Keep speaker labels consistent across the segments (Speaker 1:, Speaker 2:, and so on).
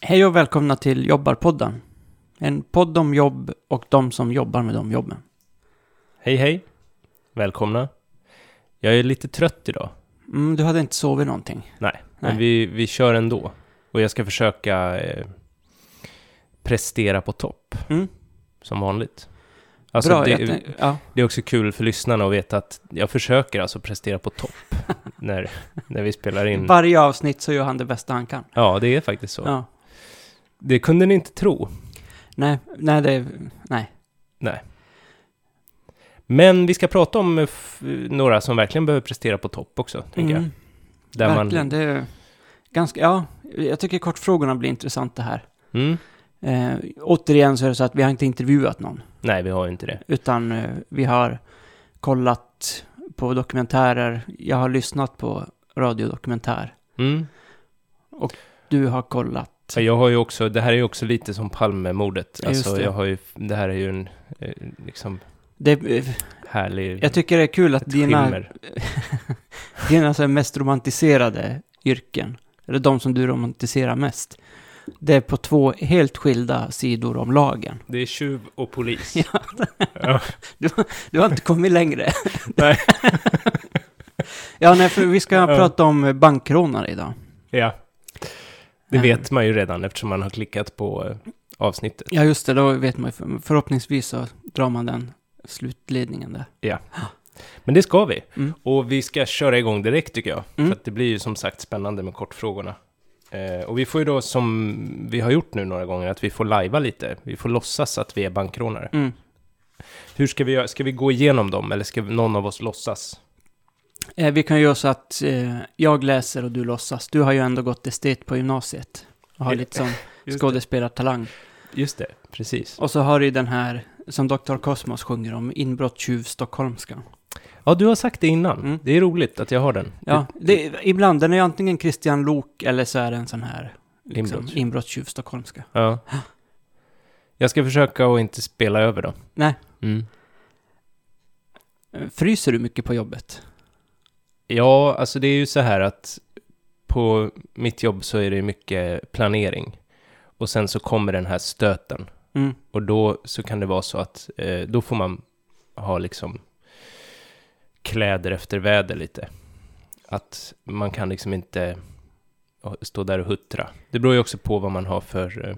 Speaker 1: Hej och välkomna till Jobbarpodden. En podd om jobb och de som jobbar med de jobben.
Speaker 2: Hej hej! Välkomna! Jag är lite trött idag,
Speaker 1: Mm, du hade inte sovit någonting. Nej.
Speaker 2: men vi, vi kör ändå. Och jag ska försöka eh, prestera på topp,
Speaker 1: Mm.
Speaker 2: som vanligt. Alltså
Speaker 1: Bra, jag
Speaker 2: det,
Speaker 1: tänk- ja.
Speaker 2: det är också kul för lyssnarna att veta att jag försöker alltså prestera på topp när, när vi spelar in.
Speaker 1: Varje avsnitt så gör han det bästa han kan.
Speaker 2: Ja, det är faktiskt så.
Speaker 1: Ja.
Speaker 2: Det kunde ni inte tro.
Speaker 1: Nej, nej, det, nej.
Speaker 2: Men vi ska prata om eh, f- några som verkligen behöver prestera på topp också, tänker jag.
Speaker 1: Mm, verkligen, det är ganska, ja, jag tycker kortfrågorna blir intressanta här.
Speaker 2: Man, mm,
Speaker 1: Eh, återigen så är det så att vi har inte intervjuat någon.
Speaker 2: nej, vi har ju inte det.
Speaker 1: Utan eh, vi har kollat på dokumentärer. Jag har lyssnat på radiodokumentär.
Speaker 2: Mm.
Speaker 1: Du har kollat.
Speaker 2: Ja, Jag har ju också, det här är ju också lite som Palmemordet.
Speaker 1: Ja, just
Speaker 2: Alltså,
Speaker 1: det.
Speaker 2: jag har ju, det här är ju en eh, liksom
Speaker 1: Det, eh,
Speaker 2: härlig...
Speaker 1: jag tycker det är kul att
Speaker 2: ett
Speaker 1: dina,
Speaker 2: skimmer.
Speaker 1: dina så här mest romantiserade yrken, eller de som du romantiserar mest, det är på två helt skilda sidor om lagen.
Speaker 2: Det är tjuv och polis.
Speaker 1: Du har inte kommit längre.
Speaker 2: Nej.
Speaker 1: ja, nej, för vi ska
Speaker 2: Ja.
Speaker 1: prata om bankrånare idag.
Speaker 2: ja. Det
Speaker 1: Eh,
Speaker 2: vet man ju redan eftersom man har klickat på eh, avsnittet.
Speaker 1: Ja, just det, då vet man ju. för- Förhoppningsvis så drar man den slutledningen där.
Speaker 2: Men det ska vi.
Speaker 1: Mm.
Speaker 2: Och vi ska köra igång direkt tycker jag.
Speaker 1: Mm.
Speaker 2: För att det blir ju som sagt spännande med kortfrågorna. Eh, och vi får ju då som vi har gjort nu några gånger att vi får lajva lite. Vi får låtsas att vi är bankrånare.
Speaker 1: Mm.
Speaker 2: Hur ska vi göra? Ska vi gå igenom dem eller ska någon av oss låtsas?
Speaker 1: Eh, vi kan ju göra så att eh, jag läser och du låtsas. Du har ju ändå gått estet på gymnasiet och har
Speaker 2: Ja,
Speaker 1: lite som
Speaker 2: just det.
Speaker 1: skådespelartalang.
Speaker 2: Just det, precis.
Speaker 1: Och så har du ju den här som Dr. Cosmos sjunger om, inbrottstjuv stockholmska.
Speaker 2: Ja, du har sagt det innan.
Speaker 1: Mm.
Speaker 2: Det är roligt att jag har den.
Speaker 1: Ja, det, ibland, den är ju antingen Christian Lok eller så är det en sån här liksom,
Speaker 2: Inbrottstjuv.
Speaker 1: inbrottstjuv stockholmska.
Speaker 2: Ja. Jag ska försöka att inte spela över då.
Speaker 1: Nej.
Speaker 2: Mm.
Speaker 1: Eh, Fryser du mycket på jobbet?
Speaker 2: Ja, alltså det är ju så här att på mitt jobb så är det mycket planering. Och sen så kommer den här stöten.
Speaker 1: Mm.
Speaker 2: Och då så kan det vara så att eh, då får man ha liksom kläder efter väder lite. Att man kan liksom inte stå där och huttra. Det beror ju också på vad man har för, eh,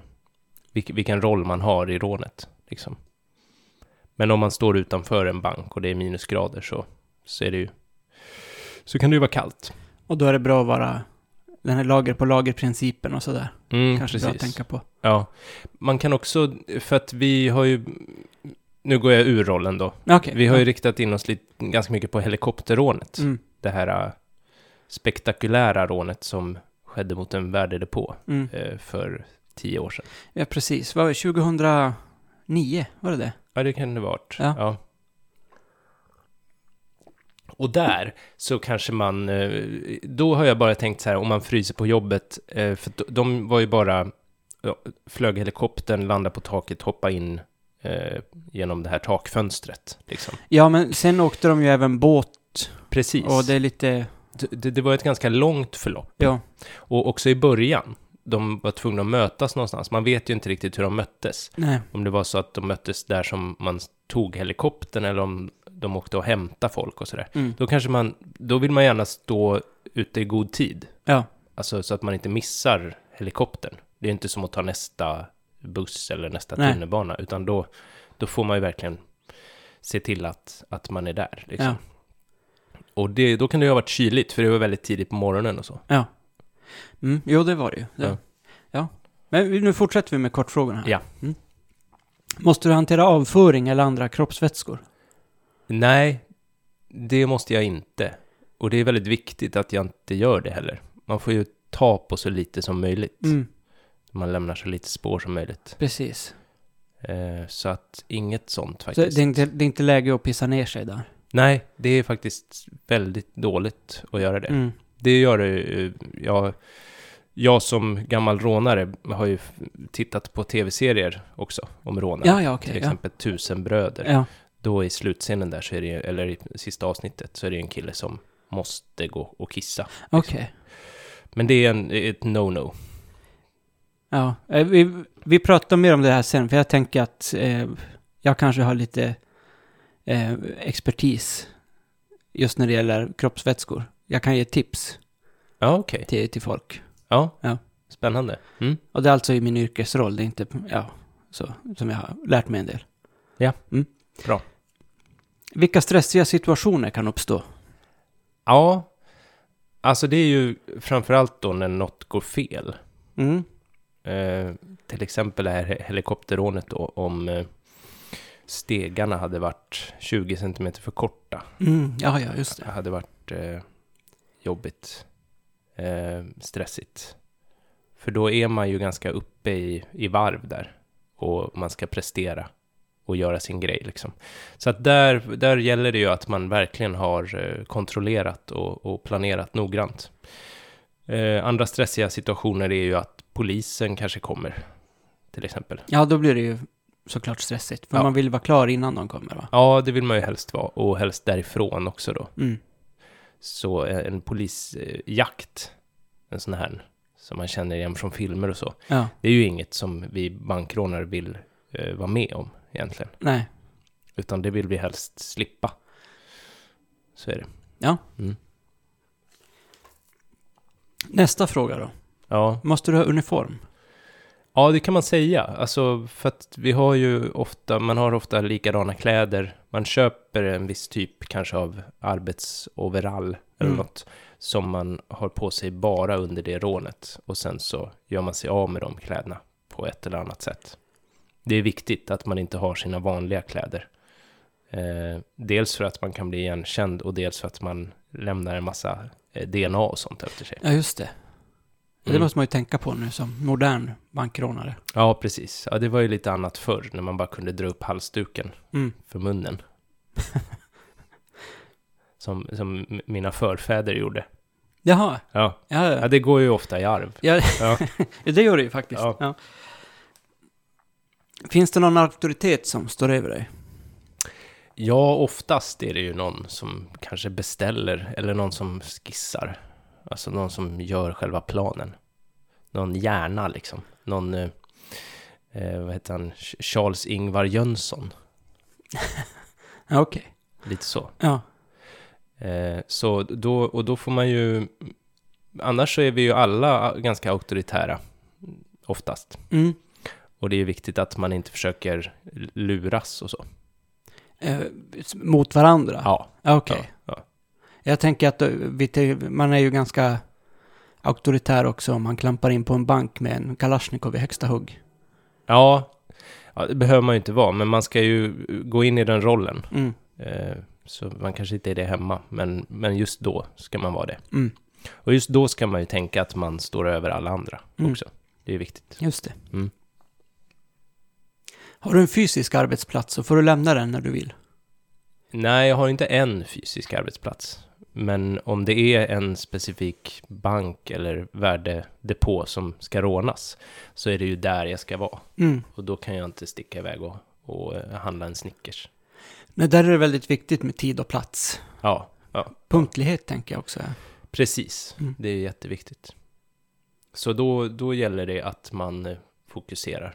Speaker 2: vilk- vilken roll man har i rånet. Liksom. Men om man står utanför en bank och det är minusgrader så, så är det ju, så kan det ju vara kallt.
Speaker 1: Och då är det bra att vara den här lager på lager-principen och sådär.
Speaker 2: Mm,
Speaker 1: Kanske bra att tänka på.
Speaker 2: Ja, man kan också, för att vi har ju, nu går jag ur rollen då,
Speaker 1: Ja, Okej.
Speaker 2: Vi har ju
Speaker 1: Ja.
Speaker 2: riktat in oss lite, ganska mycket på helikopterrånet.
Speaker 1: Mm,
Speaker 2: Det här eh, spektakulära rånet som skedde mot en värdedepå
Speaker 1: mm.
Speaker 2: eh, för tio år sedan.
Speaker 1: Ja, precis. Vad var det? 2009? Var det det?
Speaker 2: Ja, det kan det ha varit.
Speaker 1: Ja.
Speaker 2: Och där så kanske man, eh, då har jag bara tänkt så här, om man fryser på jobbet, eh, för de- de var ju bara, ja, flög helikoptern, landade på taket, hoppade in eh, genom det här takfönstret. Liksom.
Speaker 1: Ja, men sen åkte de ju även båt
Speaker 2: Precis.
Speaker 1: och det är lite...
Speaker 2: det, det var ett ganska långt förlopp.
Speaker 1: Ja.
Speaker 2: Och också i början, de var tvungna att mötas någonstans. Man vet ju inte riktigt hur de möttes.
Speaker 1: Nej.
Speaker 2: Om det var så att de möttes där som man tog helikoptern eller om de åkte och hämtade folk och sådär.
Speaker 1: Mm.
Speaker 2: Då kanske man, då vill man gärna stå ute i god tid.
Speaker 1: Ja.
Speaker 2: Alltså så att man inte missar helikoptern. Det är inte som att ta nästa buss eller nästa
Speaker 1: Nej.
Speaker 2: tunnelbana, utan då, då får man ju verkligen se till att, att man är där. Liksom.
Speaker 1: Ja.
Speaker 2: Och det, då kan det ju ha varit kyligt, för det var väldigt tidigt på morgonen och så.
Speaker 1: Ja. Mm, jo, det var det ju. Det. Ja.
Speaker 2: Ja.
Speaker 1: Men vi- nu fortsätter vi med kortfrågorna. Här.
Speaker 2: Ja.
Speaker 1: Mm. Måste du hantera avföring eller andra kroppsvätskor?
Speaker 2: Nej, det måste jag inte. Och det är väldigt viktigt att jag inte gör det heller. Man får ju ta på så lite som möjligt.
Speaker 1: Mm,
Speaker 2: Man lämnar så lite spår som möjligt.
Speaker 1: precis.
Speaker 2: Eh, så att inget sånt
Speaker 1: Så
Speaker 2: faktiskt.
Speaker 1: det, är inte, det är inte läge att pissa ner sig där.
Speaker 2: Nej, det är faktiskt väldigt dåligt att göra det.
Speaker 1: Mm.
Speaker 2: Det gör det ju- jag, jag som gammal rånare har ju f- tittat på tv-serier också om rånare.
Speaker 1: Ja, ja,
Speaker 2: Till
Speaker 1: okej. ja.
Speaker 2: exempel Tusen bröder.
Speaker 1: Ja.
Speaker 2: Då i slutscenen där, så är det, ju- eller i sista avsnittet, så är det ju en kille som måste gå och kissa.
Speaker 1: Okej.
Speaker 2: Men det är en, ett no-no.
Speaker 1: Ja, eh, vi, vi pratar mer om det här sen, för jag tänker att eh, jag kanske har lite eh, expertis just när det gäller kroppsvätskor. Jag kan ge tips
Speaker 2: Ja, okej.
Speaker 1: till, till folk.
Speaker 2: Ja.
Speaker 1: Ja.
Speaker 2: spännande. Mm.
Speaker 1: Och det är alltså i min yrkesroll, det är inte, ja, så, som jag har lärt mig en del.
Speaker 2: Ja,
Speaker 1: Mm.
Speaker 2: bra.
Speaker 1: Vilka stressiga situationer kan uppstå?
Speaker 2: Ja, alltså det är ju framförallt då när något går fel.
Speaker 1: Mm.
Speaker 2: Eh, till exempel det här he- helikopterrånet då, om eh, stegarna hade varit 20 cm för korta.
Speaker 1: Mm, ja, ja, just
Speaker 2: Det
Speaker 1: det.
Speaker 2: hade varit eh, jobbigt, eh, stressigt. För då är man ju ganska uppe i, i varv där och man ska prestera och göra sin grej liksom. Så att där, där gäller det ju att man verkligen har eh, kontrollerat och, och planerat noggrant. Eh, andra stressiga situationer är ju att polisen kanske kommer, till exempel.
Speaker 1: Ja, då blir det ju såklart stressigt, för
Speaker 2: Ja.
Speaker 1: man vill vara klar innan de kommer, va?
Speaker 2: Ja, det vill man ju helst vara och helst därifrån också då.
Speaker 1: Mm.
Speaker 2: Så eh, en polisjakt, en sån här som man känner igen från filmer och så,
Speaker 1: Ja,
Speaker 2: det är ju inget som vi bankrånare vill eh, vara med om egentligen,
Speaker 1: nej.
Speaker 2: utan det vill vi helst slippa. Så är det.
Speaker 1: Nästa fråga då.
Speaker 2: Ja,
Speaker 1: Måste du ha uniform?
Speaker 2: ja det kan man säga. Alltså, för att vi har ju ofta, man har ofta likadana kläder. Man köper en viss typ kanske av arbetsoverall eller
Speaker 1: Mm.
Speaker 2: något som man har på sig bara under det rånet och sen så gör man sig av med de kläderna på ett eller annat sätt. Det är viktigt att man inte har sina vanliga kläder. Eh, dels för att man kan bli igenkänd och dels för att man lämnar en massa eh, DNA och sånt efter sig.
Speaker 1: Ja, just det. Det
Speaker 2: Mm.
Speaker 1: måste man ju tänka på nu som modern bankrånare.
Speaker 2: Ja, precis. Ja, det var ju lite annat förr när man bara kunde dra upp halsduken
Speaker 1: Mm.
Speaker 2: för munnen. som, som m- mina förfäder gjorde.
Speaker 1: Jaha,
Speaker 2: Ja.
Speaker 1: ja,
Speaker 2: ja,
Speaker 1: ja.
Speaker 2: det går ju ofta i arv.
Speaker 1: ja,
Speaker 2: Ja.
Speaker 1: det gör det ju faktiskt.
Speaker 2: Ja.
Speaker 1: Ja. Finns det någon auktoritet som står över dig?
Speaker 2: ja, oftast är det ju någon som kanske beställer eller någon som skissar. Alltså någon som gör själva planen. Någon hjärna liksom. Någon, eh, eh, vad heter han, Ch- Charles Ingvar Jönsson.
Speaker 1: Ja, okej.
Speaker 2: Lite så.
Speaker 1: Ja.
Speaker 2: Eh, så då, och då får man ju... Annars så är vi ju alla ah, ganska auktoritära, oftast.
Speaker 1: Mm.
Speaker 2: Och det är ju viktigt att man inte försöker luras och så.
Speaker 1: Eh, s- mot varandra?
Speaker 2: Ja.
Speaker 1: Ja, Ah, Okej.
Speaker 2: Ja, ja.
Speaker 1: Jag tänker att eh, vi till- man är ju ganska auktoritär också om man klampar in på en bank med en Kalashnikov i högsta hugg.
Speaker 2: Ja. ja, det behöver man ju inte vara, men man ska ju gå in i den rollen.
Speaker 1: Mm.
Speaker 2: Eh, så man kanske inte är det hemma, men, men just då ska man vara det.
Speaker 1: Mm.
Speaker 2: Och just då ska man ju tänka att man står över alla andra
Speaker 1: Mm.
Speaker 2: också. Det är viktigt.
Speaker 1: Just det.
Speaker 2: Mm.
Speaker 1: Har du en fysisk arbetsplats så får du lämna den när du vill.
Speaker 2: Nej, jag har inte en fysisk arbetsplats. Men om det är en specifik bank eller värdedepå som ska rånas så är det ju där jag ska vara.
Speaker 1: Mm.
Speaker 2: Och då kan jag inte sticka iväg och, och eh, handla en Snickers.
Speaker 1: Men där är det väldigt viktigt med tid och plats.
Speaker 2: Ja,
Speaker 1: Punktlighet tänker jag också.
Speaker 2: precis.
Speaker 1: Mm.
Speaker 2: Det är jätteviktigt. Så då, då gäller det att man eh, fokuserar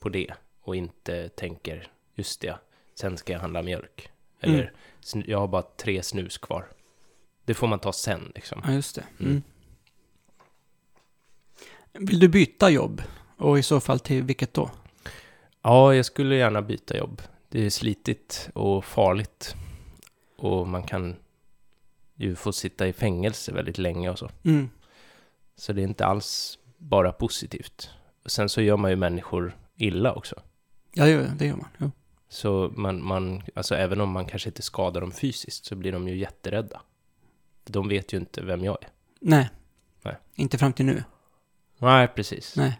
Speaker 2: på det och inte tänker just det, sen ska jag handla mjölk. Eller
Speaker 1: Mm.
Speaker 2: "Sn- jag har bara tre snus kvar. Det får man ta sen liksom.
Speaker 1: Ja, just det.
Speaker 2: Mm.
Speaker 1: Mm. Vill du byta jobb? Och i så fall till vilket då?
Speaker 2: Ja, jag skulle gärna byta jobb. Det är slitigt och farligt. Och man kan ju få sitta i fängelse väldigt länge och så.
Speaker 1: Mm.
Speaker 2: Så det är inte alls bara positivt. Och sen så gör man ju människor illa också.
Speaker 1: Ja, det gör- det gör man. Jo.
Speaker 2: Så man, man, alltså även om man kanske inte skadar dem fysiskt så blir de ju jätterädda. De vet ju inte vem jag är.
Speaker 1: Nej.
Speaker 2: Nej.
Speaker 1: Inte fram till nu.
Speaker 2: Nej, precis.
Speaker 1: Nej.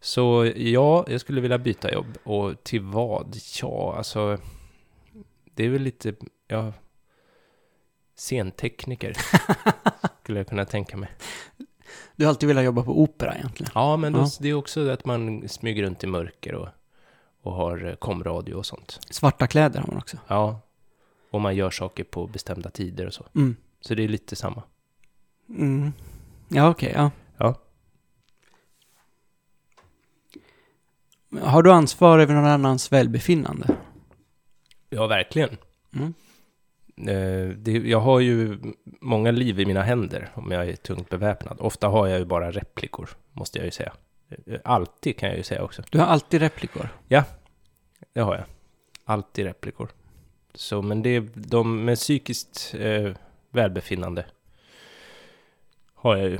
Speaker 2: Så ja, jag skulle vilja byta jobb. Och till vad? Ja, alltså... Det är väl lite... Ja, scentekniker skulle jag kunna tänka mig.
Speaker 1: Du har alltid velat jobba på opera egentligen.
Speaker 2: Ja, men då,
Speaker 1: Ja.
Speaker 2: det är också att man smyger runt i mörker och, och har eh, komradio och sånt.
Speaker 1: Svarta kläder har man också.
Speaker 2: Ja. Och man gör saker på bestämda tider och så.
Speaker 1: Mm.
Speaker 2: Så det är lite samma.
Speaker 1: Mm. Ja, okej. ja.
Speaker 2: Ja.
Speaker 1: Har du ansvar över någon annans välbefinnande?
Speaker 2: Ja, verkligen.
Speaker 1: Mm.
Speaker 2: Eh, det, jag har ju många liv i mina händer om jag är tungt beväpnad. Ofta har jag ju bara replikor, måste jag ju säga. Eh, Alltid kan jag ju säga också.
Speaker 1: Du har alltid replikor.
Speaker 2: Det har jag. Alltid replikor. Så, men det, de med psykiskt eh, välbefinnande har jag ju.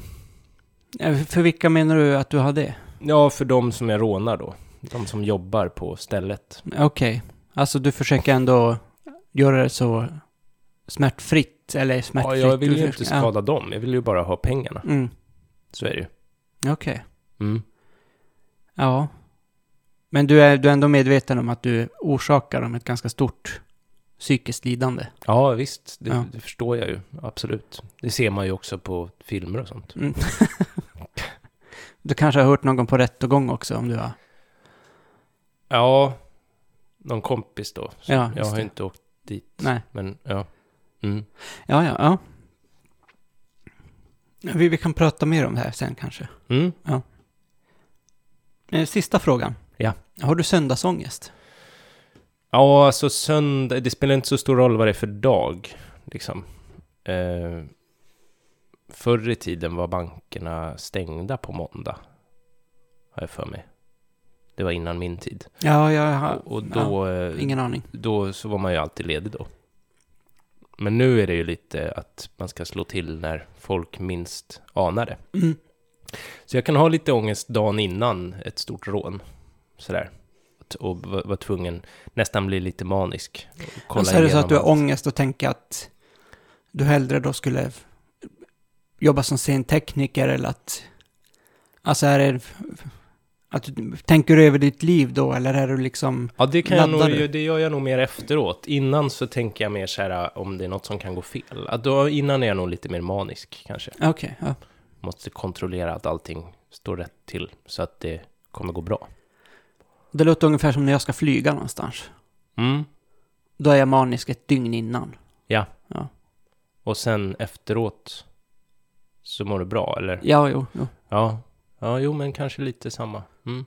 Speaker 1: Eh, För vilka menar du att du har det?
Speaker 2: Ja, för de som jag rånar då. De som jobbar på stället.
Speaker 1: Okej. Alltså du försöker ändå göra det så smärtfritt, eller
Speaker 2: Ja,
Speaker 1: smärtfritt.
Speaker 2: jag vill
Speaker 1: du
Speaker 2: ju
Speaker 1: försöker-
Speaker 2: inte skada dem. Jag vill ju bara ha pengarna.
Speaker 1: Ja. Mm.
Speaker 2: Så är det ju.
Speaker 1: Okej.
Speaker 2: Mm.
Speaker 1: Ja. Men du är, du är ändå medveten om att du orsakar dem ett ganska stort psykiskt lidande.
Speaker 2: Ja, visst. Det,
Speaker 1: Ja.
Speaker 2: det förstår jag ju. Absolut. Det ser man ju också på filmer och sånt.
Speaker 1: Mm. du kanske har hört någon på rättegång också om du har...
Speaker 2: Ja, någon kompis då. Så
Speaker 1: Ja,
Speaker 2: jag
Speaker 1: just
Speaker 2: har
Speaker 1: det.
Speaker 2: ju inte åkt dit.
Speaker 1: Nej.
Speaker 2: Men ja. Mm.
Speaker 1: Ja, ja, ja. Vi, vi kan prata mer om det här sen kanske.
Speaker 2: Mm.
Speaker 1: Eh, Sista frågan.
Speaker 2: Ja.
Speaker 1: Har du söndagsångest?
Speaker 2: Ja, alltså söndag, det spelar inte så stor roll vad det är för dag, liksom. Eh, förr i tiden var bankerna stängda på måndag, har jag för mig. Det var innan min tid.
Speaker 1: Ja, jag har...
Speaker 2: och och då, eh,
Speaker 1: Ja, ingen aning.
Speaker 2: då så var man ju alltid ledig då. Men nu är det ju lite att man ska slå till när folk minst anar det.
Speaker 1: Mm.
Speaker 2: Så jag kan ha lite ångest dagen innan ett stort rån. Sådär. Att- Och v- vara tvungen, nästan bli lite manisk. och kolla
Speaker 1: Kolla Alltså, är det så
Speaker 2: igenom
Speaker 1: att du har
Speaker 2: allt.
Speaker 1: ångest och tänker att du hellre då skulle f- jobba som scentekniker eller att... Alltså är det... f- f- Att du, tänker du över ditt liv då eller är du liksom...
Speaker 2: Ja, det, kan jag
Speaker 1: Laddar
Speaker 2: nog,
Speaker 1: du?
Speaker 2: det gör jag nog mer efteråt. Innan så tänker jag mer så här om det är något som kan gå fel. Att då, innan är jag nog lite mer manisk kanske.
Speaker 1: Okej, ja.
Speaker 2: Måste kontrollera att allting står rätt till så att det kommer gå bra.
Speaker 1: Det låter ungefär som när jag ska flyga någonstans.
Speaker 2: Mm.
Speaker 1: Då är jag manisk ett dygn innan.
Speaker 2: Ja.
Speaker 1: Ja.
Speaker 2: Och sen efteråt så mår du bra, eller?
Speaker 1: Ja, jo, jo.
Speaker 2: Ja. Ja, jo, men kanske lite samma. Mm.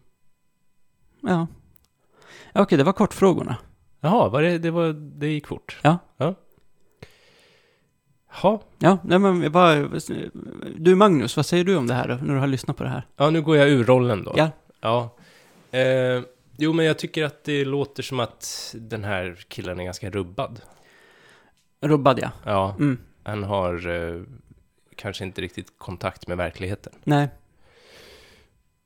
Speaker 1: Ja. Okej, det var kortfrågorna.
Speaker 2: Jaha, var det, det, var, det gick fort.
Speaker 1: Ja.
Speaker 2: Ja. Ha.
Speaker 1: Ja, nej men vad... Du Magnus, vad säger du om det här då, när du har lyssnat på det här?
Speaker 2: ja, nu går jag ur rollen då.
Speaker 1: Ja.
Speaker 2: ja. Eh, jo, men jag tycker att det låter som att den här killen är ganska rubbad.
Speaker 1: Rubbad ja.
Speaker 2: Ja,
Speaker 1: Mm.
Speaker 2: han har eh, kanske inte riktigt kontakt med verkligheten.
Speaker 1: Nej.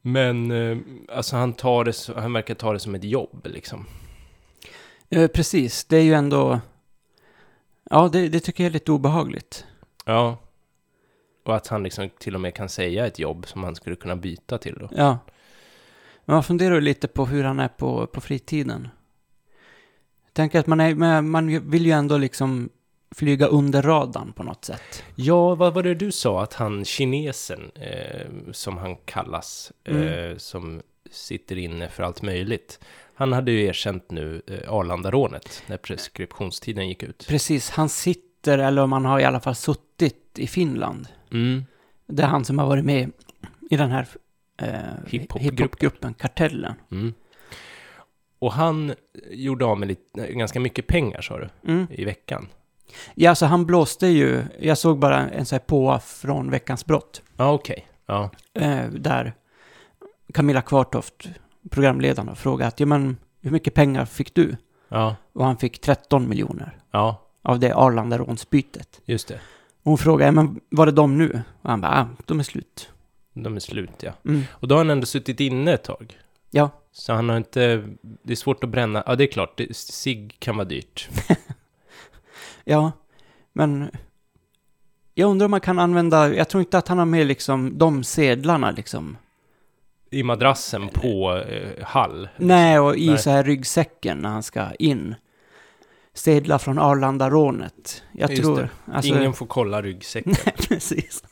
Speaker 2: Men eh, alltså han, tar det, så- han verkar ta det som ett jobb liksom.
Speaker 1: Eh, precis, det är ju ändå... Ja, det, det tycker jag är lite obehagligt.
Speaker 2: Ja. Och att han liksom till och med kan säga ett jobb som han skulle kunna byta till då.
Speaker 1: Ja. Men man funderar ju lite på hur han är på, på fritiden. Jag tänker att man, är, men man vill ju ändå liksom flyga under radarn på något sätt.
Speaker 2: Ja, vad var det du sa? Att han kinesen, eh, som han kallas, eh, som sitter inne för allt möjligt. Han hade ju erkänt nu eh, Arlandarånet när preskriptionstiden gick ut.
Speaker 1: Precis, han sitter, eller man har i alla fall suttit i Finland.
Speaker 2: Mm.
Speaker 1: Det är han som har varit med i den här eh,
Speaker 2: Hiphopgruppen.
Speaker 1: hiphopgruppen, Kartellen.
Speaker 2: Mm. Och han eh, gjorde av med lite, eh, ganska mycket pengar, sa du,
Speaker 1: Mm.
Speaker 2: i veckan.
Speaker 1: Ja, så han blåste ju, jag såg bara en sån här påa från Veckans Brott.
Speaker 2: Ja, okej. Ja.
Speaker 1: eh, där Camilla Kvartoft, programledaren, frågade att ja, men, hur mycket pengar fick du?
Speaker 2: ja,
Speaker 1: Och han fick 13 miljoner
Speaker 2: ja,
Speaker 1: av det Arlanda-rånsbytet.
Speaker 2: just det.
Speaker 1: Och Hon frågade, ja, men var det de nu? Och han bara, ah, de är slut.
Speaker 2: De är slut, ja.
Speaker 1: Mm.
Speaker 2: Och då har han ändå suttit inne ett tag.
Speaker 1: Ja,
Speaker 2: Så han har inte, det är svårt att bränna, ja det är klart, det- cigg kan vara dyrt.
Speaker 1: ja, men jag undrar om man kan använda, jag tror inte att han har med liksom de sedlarna liksom.
Speaker 2: I madrassen på eh, Hall.
Speaker 1: Nej, och i
Speaker 2: Nej.
Speaker 1: så här ryggsäcken när han ska in. Sedlar från Arlanda-rånet. Jag
Speaker 2: Just
Speaker 1: tror... alltså
Speaker 2: det. Ingen får kolla ryggsäcken.
Speaker 1: Precis.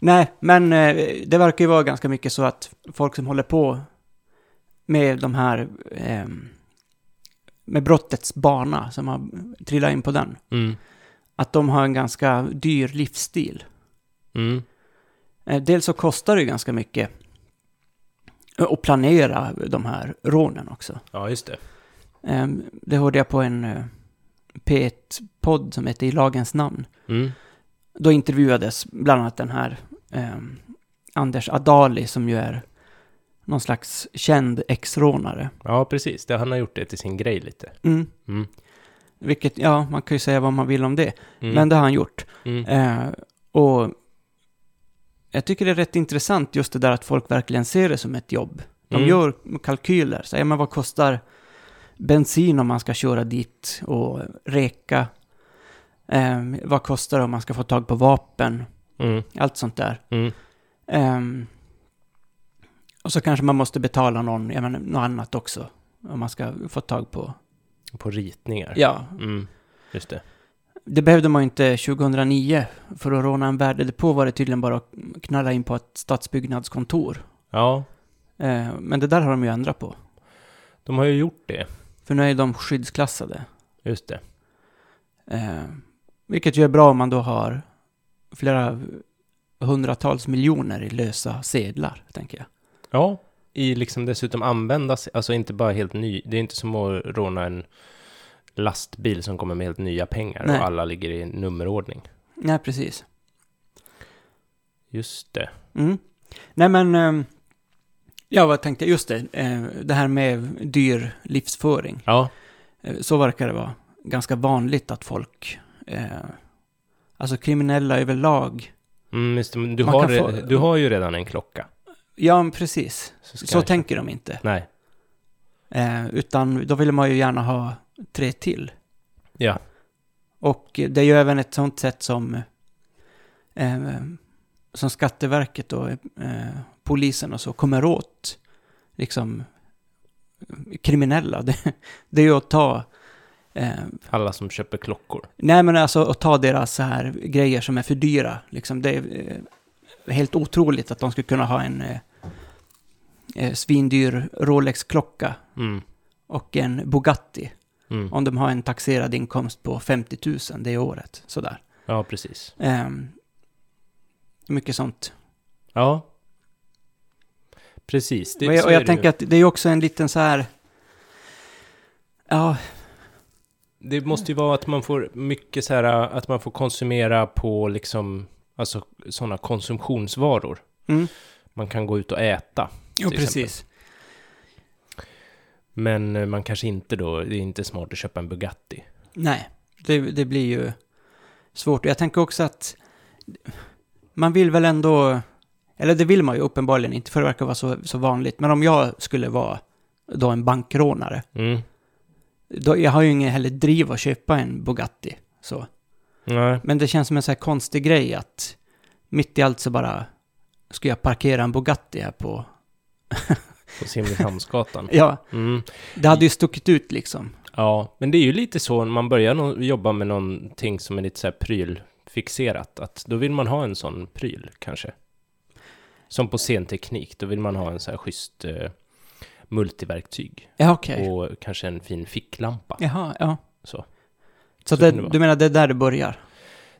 Speaker 1: Nej, men eh, det verkar ju vara ganska mycket så att folk som håller på med de här, ehm, med brottets bana, som har trillat in på den,
Speaker 2: Mm.
Speaker 1: att de har en ganska dyr livsstil.
Speaker 2: Mm.
Speaker 1: Eh, Dels så kostar det ju ganska mycket Och planera de här rånen också.
Speaker 2: Ja, just det.
Speaker 1: Ehm, Det hörde jag på en eh, P1-podd som heter I lagens namn.
Speaker 2: Mm.
Speaker 1: Då intervjuades bland annat den här ehm, Anders Adali som ju är någon slags känd ex-rånare.
Speaker 2: Ja, precis. Det, han har gjort det till sin grej lite.
Speaker 1: Mm.
Speaker 2: Mm.
Speaker 1: Vilket, ja, man kan ju säga vad man vill om det.
Speaker 2: Mm.
Speaker 1: Men det har han gjort.
Speaker 2: Mm.
Speaker 1: Eh, och jag tycker det är rätt intressant just det där att folk verkligen ser det som ett jobb. De
Speaker 2: Mm.
Speaker 1: gör kalkyler, säger men vad kostar bensin om man ska köra dit och reka? Eh, vad kostar det om man ska få tag på vapen?
Speaker 2: Mm.
Speaker 1: Allt sånt där.
Speaker 2: Mm.
Speaker 1: Ehm, och så kanske man måste betala någon, jag menar, något annat också. Om man ska få tag på...
Speaker 2: På ritningar.
Speaker 1: Ja,
Speaker 2: Mm. Just det.
Speaker 1: det behövde man ju inte 2009. För att råna en värdedepå var det tydligen bara att knalla in på ett stadsbyggnadskontor.
Speaker 2: Ja,
Speaker 1: Eh, Men det där har de ju ändrat på.
Speaker 2: de har ju gjort det.
Speaker 1: För nu är de skyddsklassade.
Speaker 2: Just det.
Speaker 1: Eh, Vilket ju är bra om man då har flera hundratals miljoner i lösa sedlar, tänker jag.
Speaker 2: Ja, i liksom dessutom användas, alltså inte bara helt ny, det är inte som att råna en lastbil som kommer med helt nya pengar
Speaker 1: Nej.
Speaker 2: och alla ligger i nummerordning.
Speaker 1: Nej, precis.
Speaker 2: Just det.
Speaker 1: Mm. Nej, men... ehm, Ja, vad tänkte jag? Just det. eh, Det här med dyr livsföring.
Speaker 2: Ja,
Speaker 1: Eh, Så verkar det vara ganska vanligt att folk, eh, alltså kriminella överlag,
Speaker 2: mm, just det. men Du,
Speaker 1: Man
Speaker 2: har,
Speaker 1: kan få-
Speaker 2: re- du har ju redan en klocka.
Speaker 1: ja men precis,
Speaker 2: ska
Speaker 1: så
Speaker 2: jag-
Speaker 1: tänker de inte.
Speaker 2: Nej,
Speaker 1: Eh, utan då vill man ju gärna ha tre till.
Speaker 2: ja.
Speaker 1: Och det är ju även ett sånt sätt som, eh, som Skatteverket och eh, polisen och så kommer åt liksom kriminella. Det, det är ju att ta eh,
Speaker 2: Alla som köper klockor.
Speaker 1: Nej, men alltså att ta deras så här grejer som är för dyra. Liksom, det är eh, helt otroligt att de skulle kunna ha en eh, eh, svindyr Rolex-klocka
Speaker 2: Mm.
Speaker 1: och en Bugatti.
Speaker 2: Mm.
Speaker 1: Om de har en taxerad inkomst på 50 000 det året. Sådär.
Speaker 2: Ja, precis.
Speaker 1: Ehm, mycket sånt.
Speaker 2: Ja. Precis. Det,
Speaker 1: och jag,
Speaker 2: så
Speaker 1: och
Speaker 2: är
Speaker 1: jag
Speaker 2: det ju.
Speaker 1: tänker att det är också en liten så här... Ja,
Speaker 2: Det måste ju vara att man får mycket så här, att man får konsumera på liksom, alltså sådana konsumtionsvaror.
Speaker 1: mm.
Speaker 2: Man kan gå ut och äta.
Speaker 1: jo,
Speaker 2: till exempel.
Speaker 1: precis.
Speaker 2: Men eh, man kanske inte då, det är inte smart att köpa en Bugatti.
Speaker 1: Nej, det, det blir ju svårt. Jag tänker också att man vill väl ändå, eller det vill man ju uppenbarligen inte för det verkar vara så, så vanligt. Men om jag skulle vara då en bankrånare,
Speaker 2: Mm.
Speaker 1: då, jag har ju ingen heller driv att köpa en Bugatti. Så.
Speaker 2: Nej.
Speaker 1: Men det känns som en så här konstig grej att mitt i allt så bara ska jag parkera en Bugatti här på...
Speaker 2: På Simrishamnsgatan.
Speaker 1: Ja,
Speaker 2: Mm.
Speaker 1: det hade ju stuckit ut liksom.
Speaker 2: Ja, men det är ju lite så när man börjar nå- jobba med någonting som är lite så här prylfixerat, att då vill man ha en sån pryl kanske. Som på scenteknik, då vill man ha en så här schysst eh, multiverktyg
Speaker 1: Ja, okej.
Speaker 2: och kanske en fin ficklampa.
Speaker 1: Jaha, ja.
Speaker 2: Så.
Speaker 1: Så,
Speaker 2: Så
Speaker 1: det,
Speaker 2: kan det vara.
Speaker 1: du menar det är där det börjar?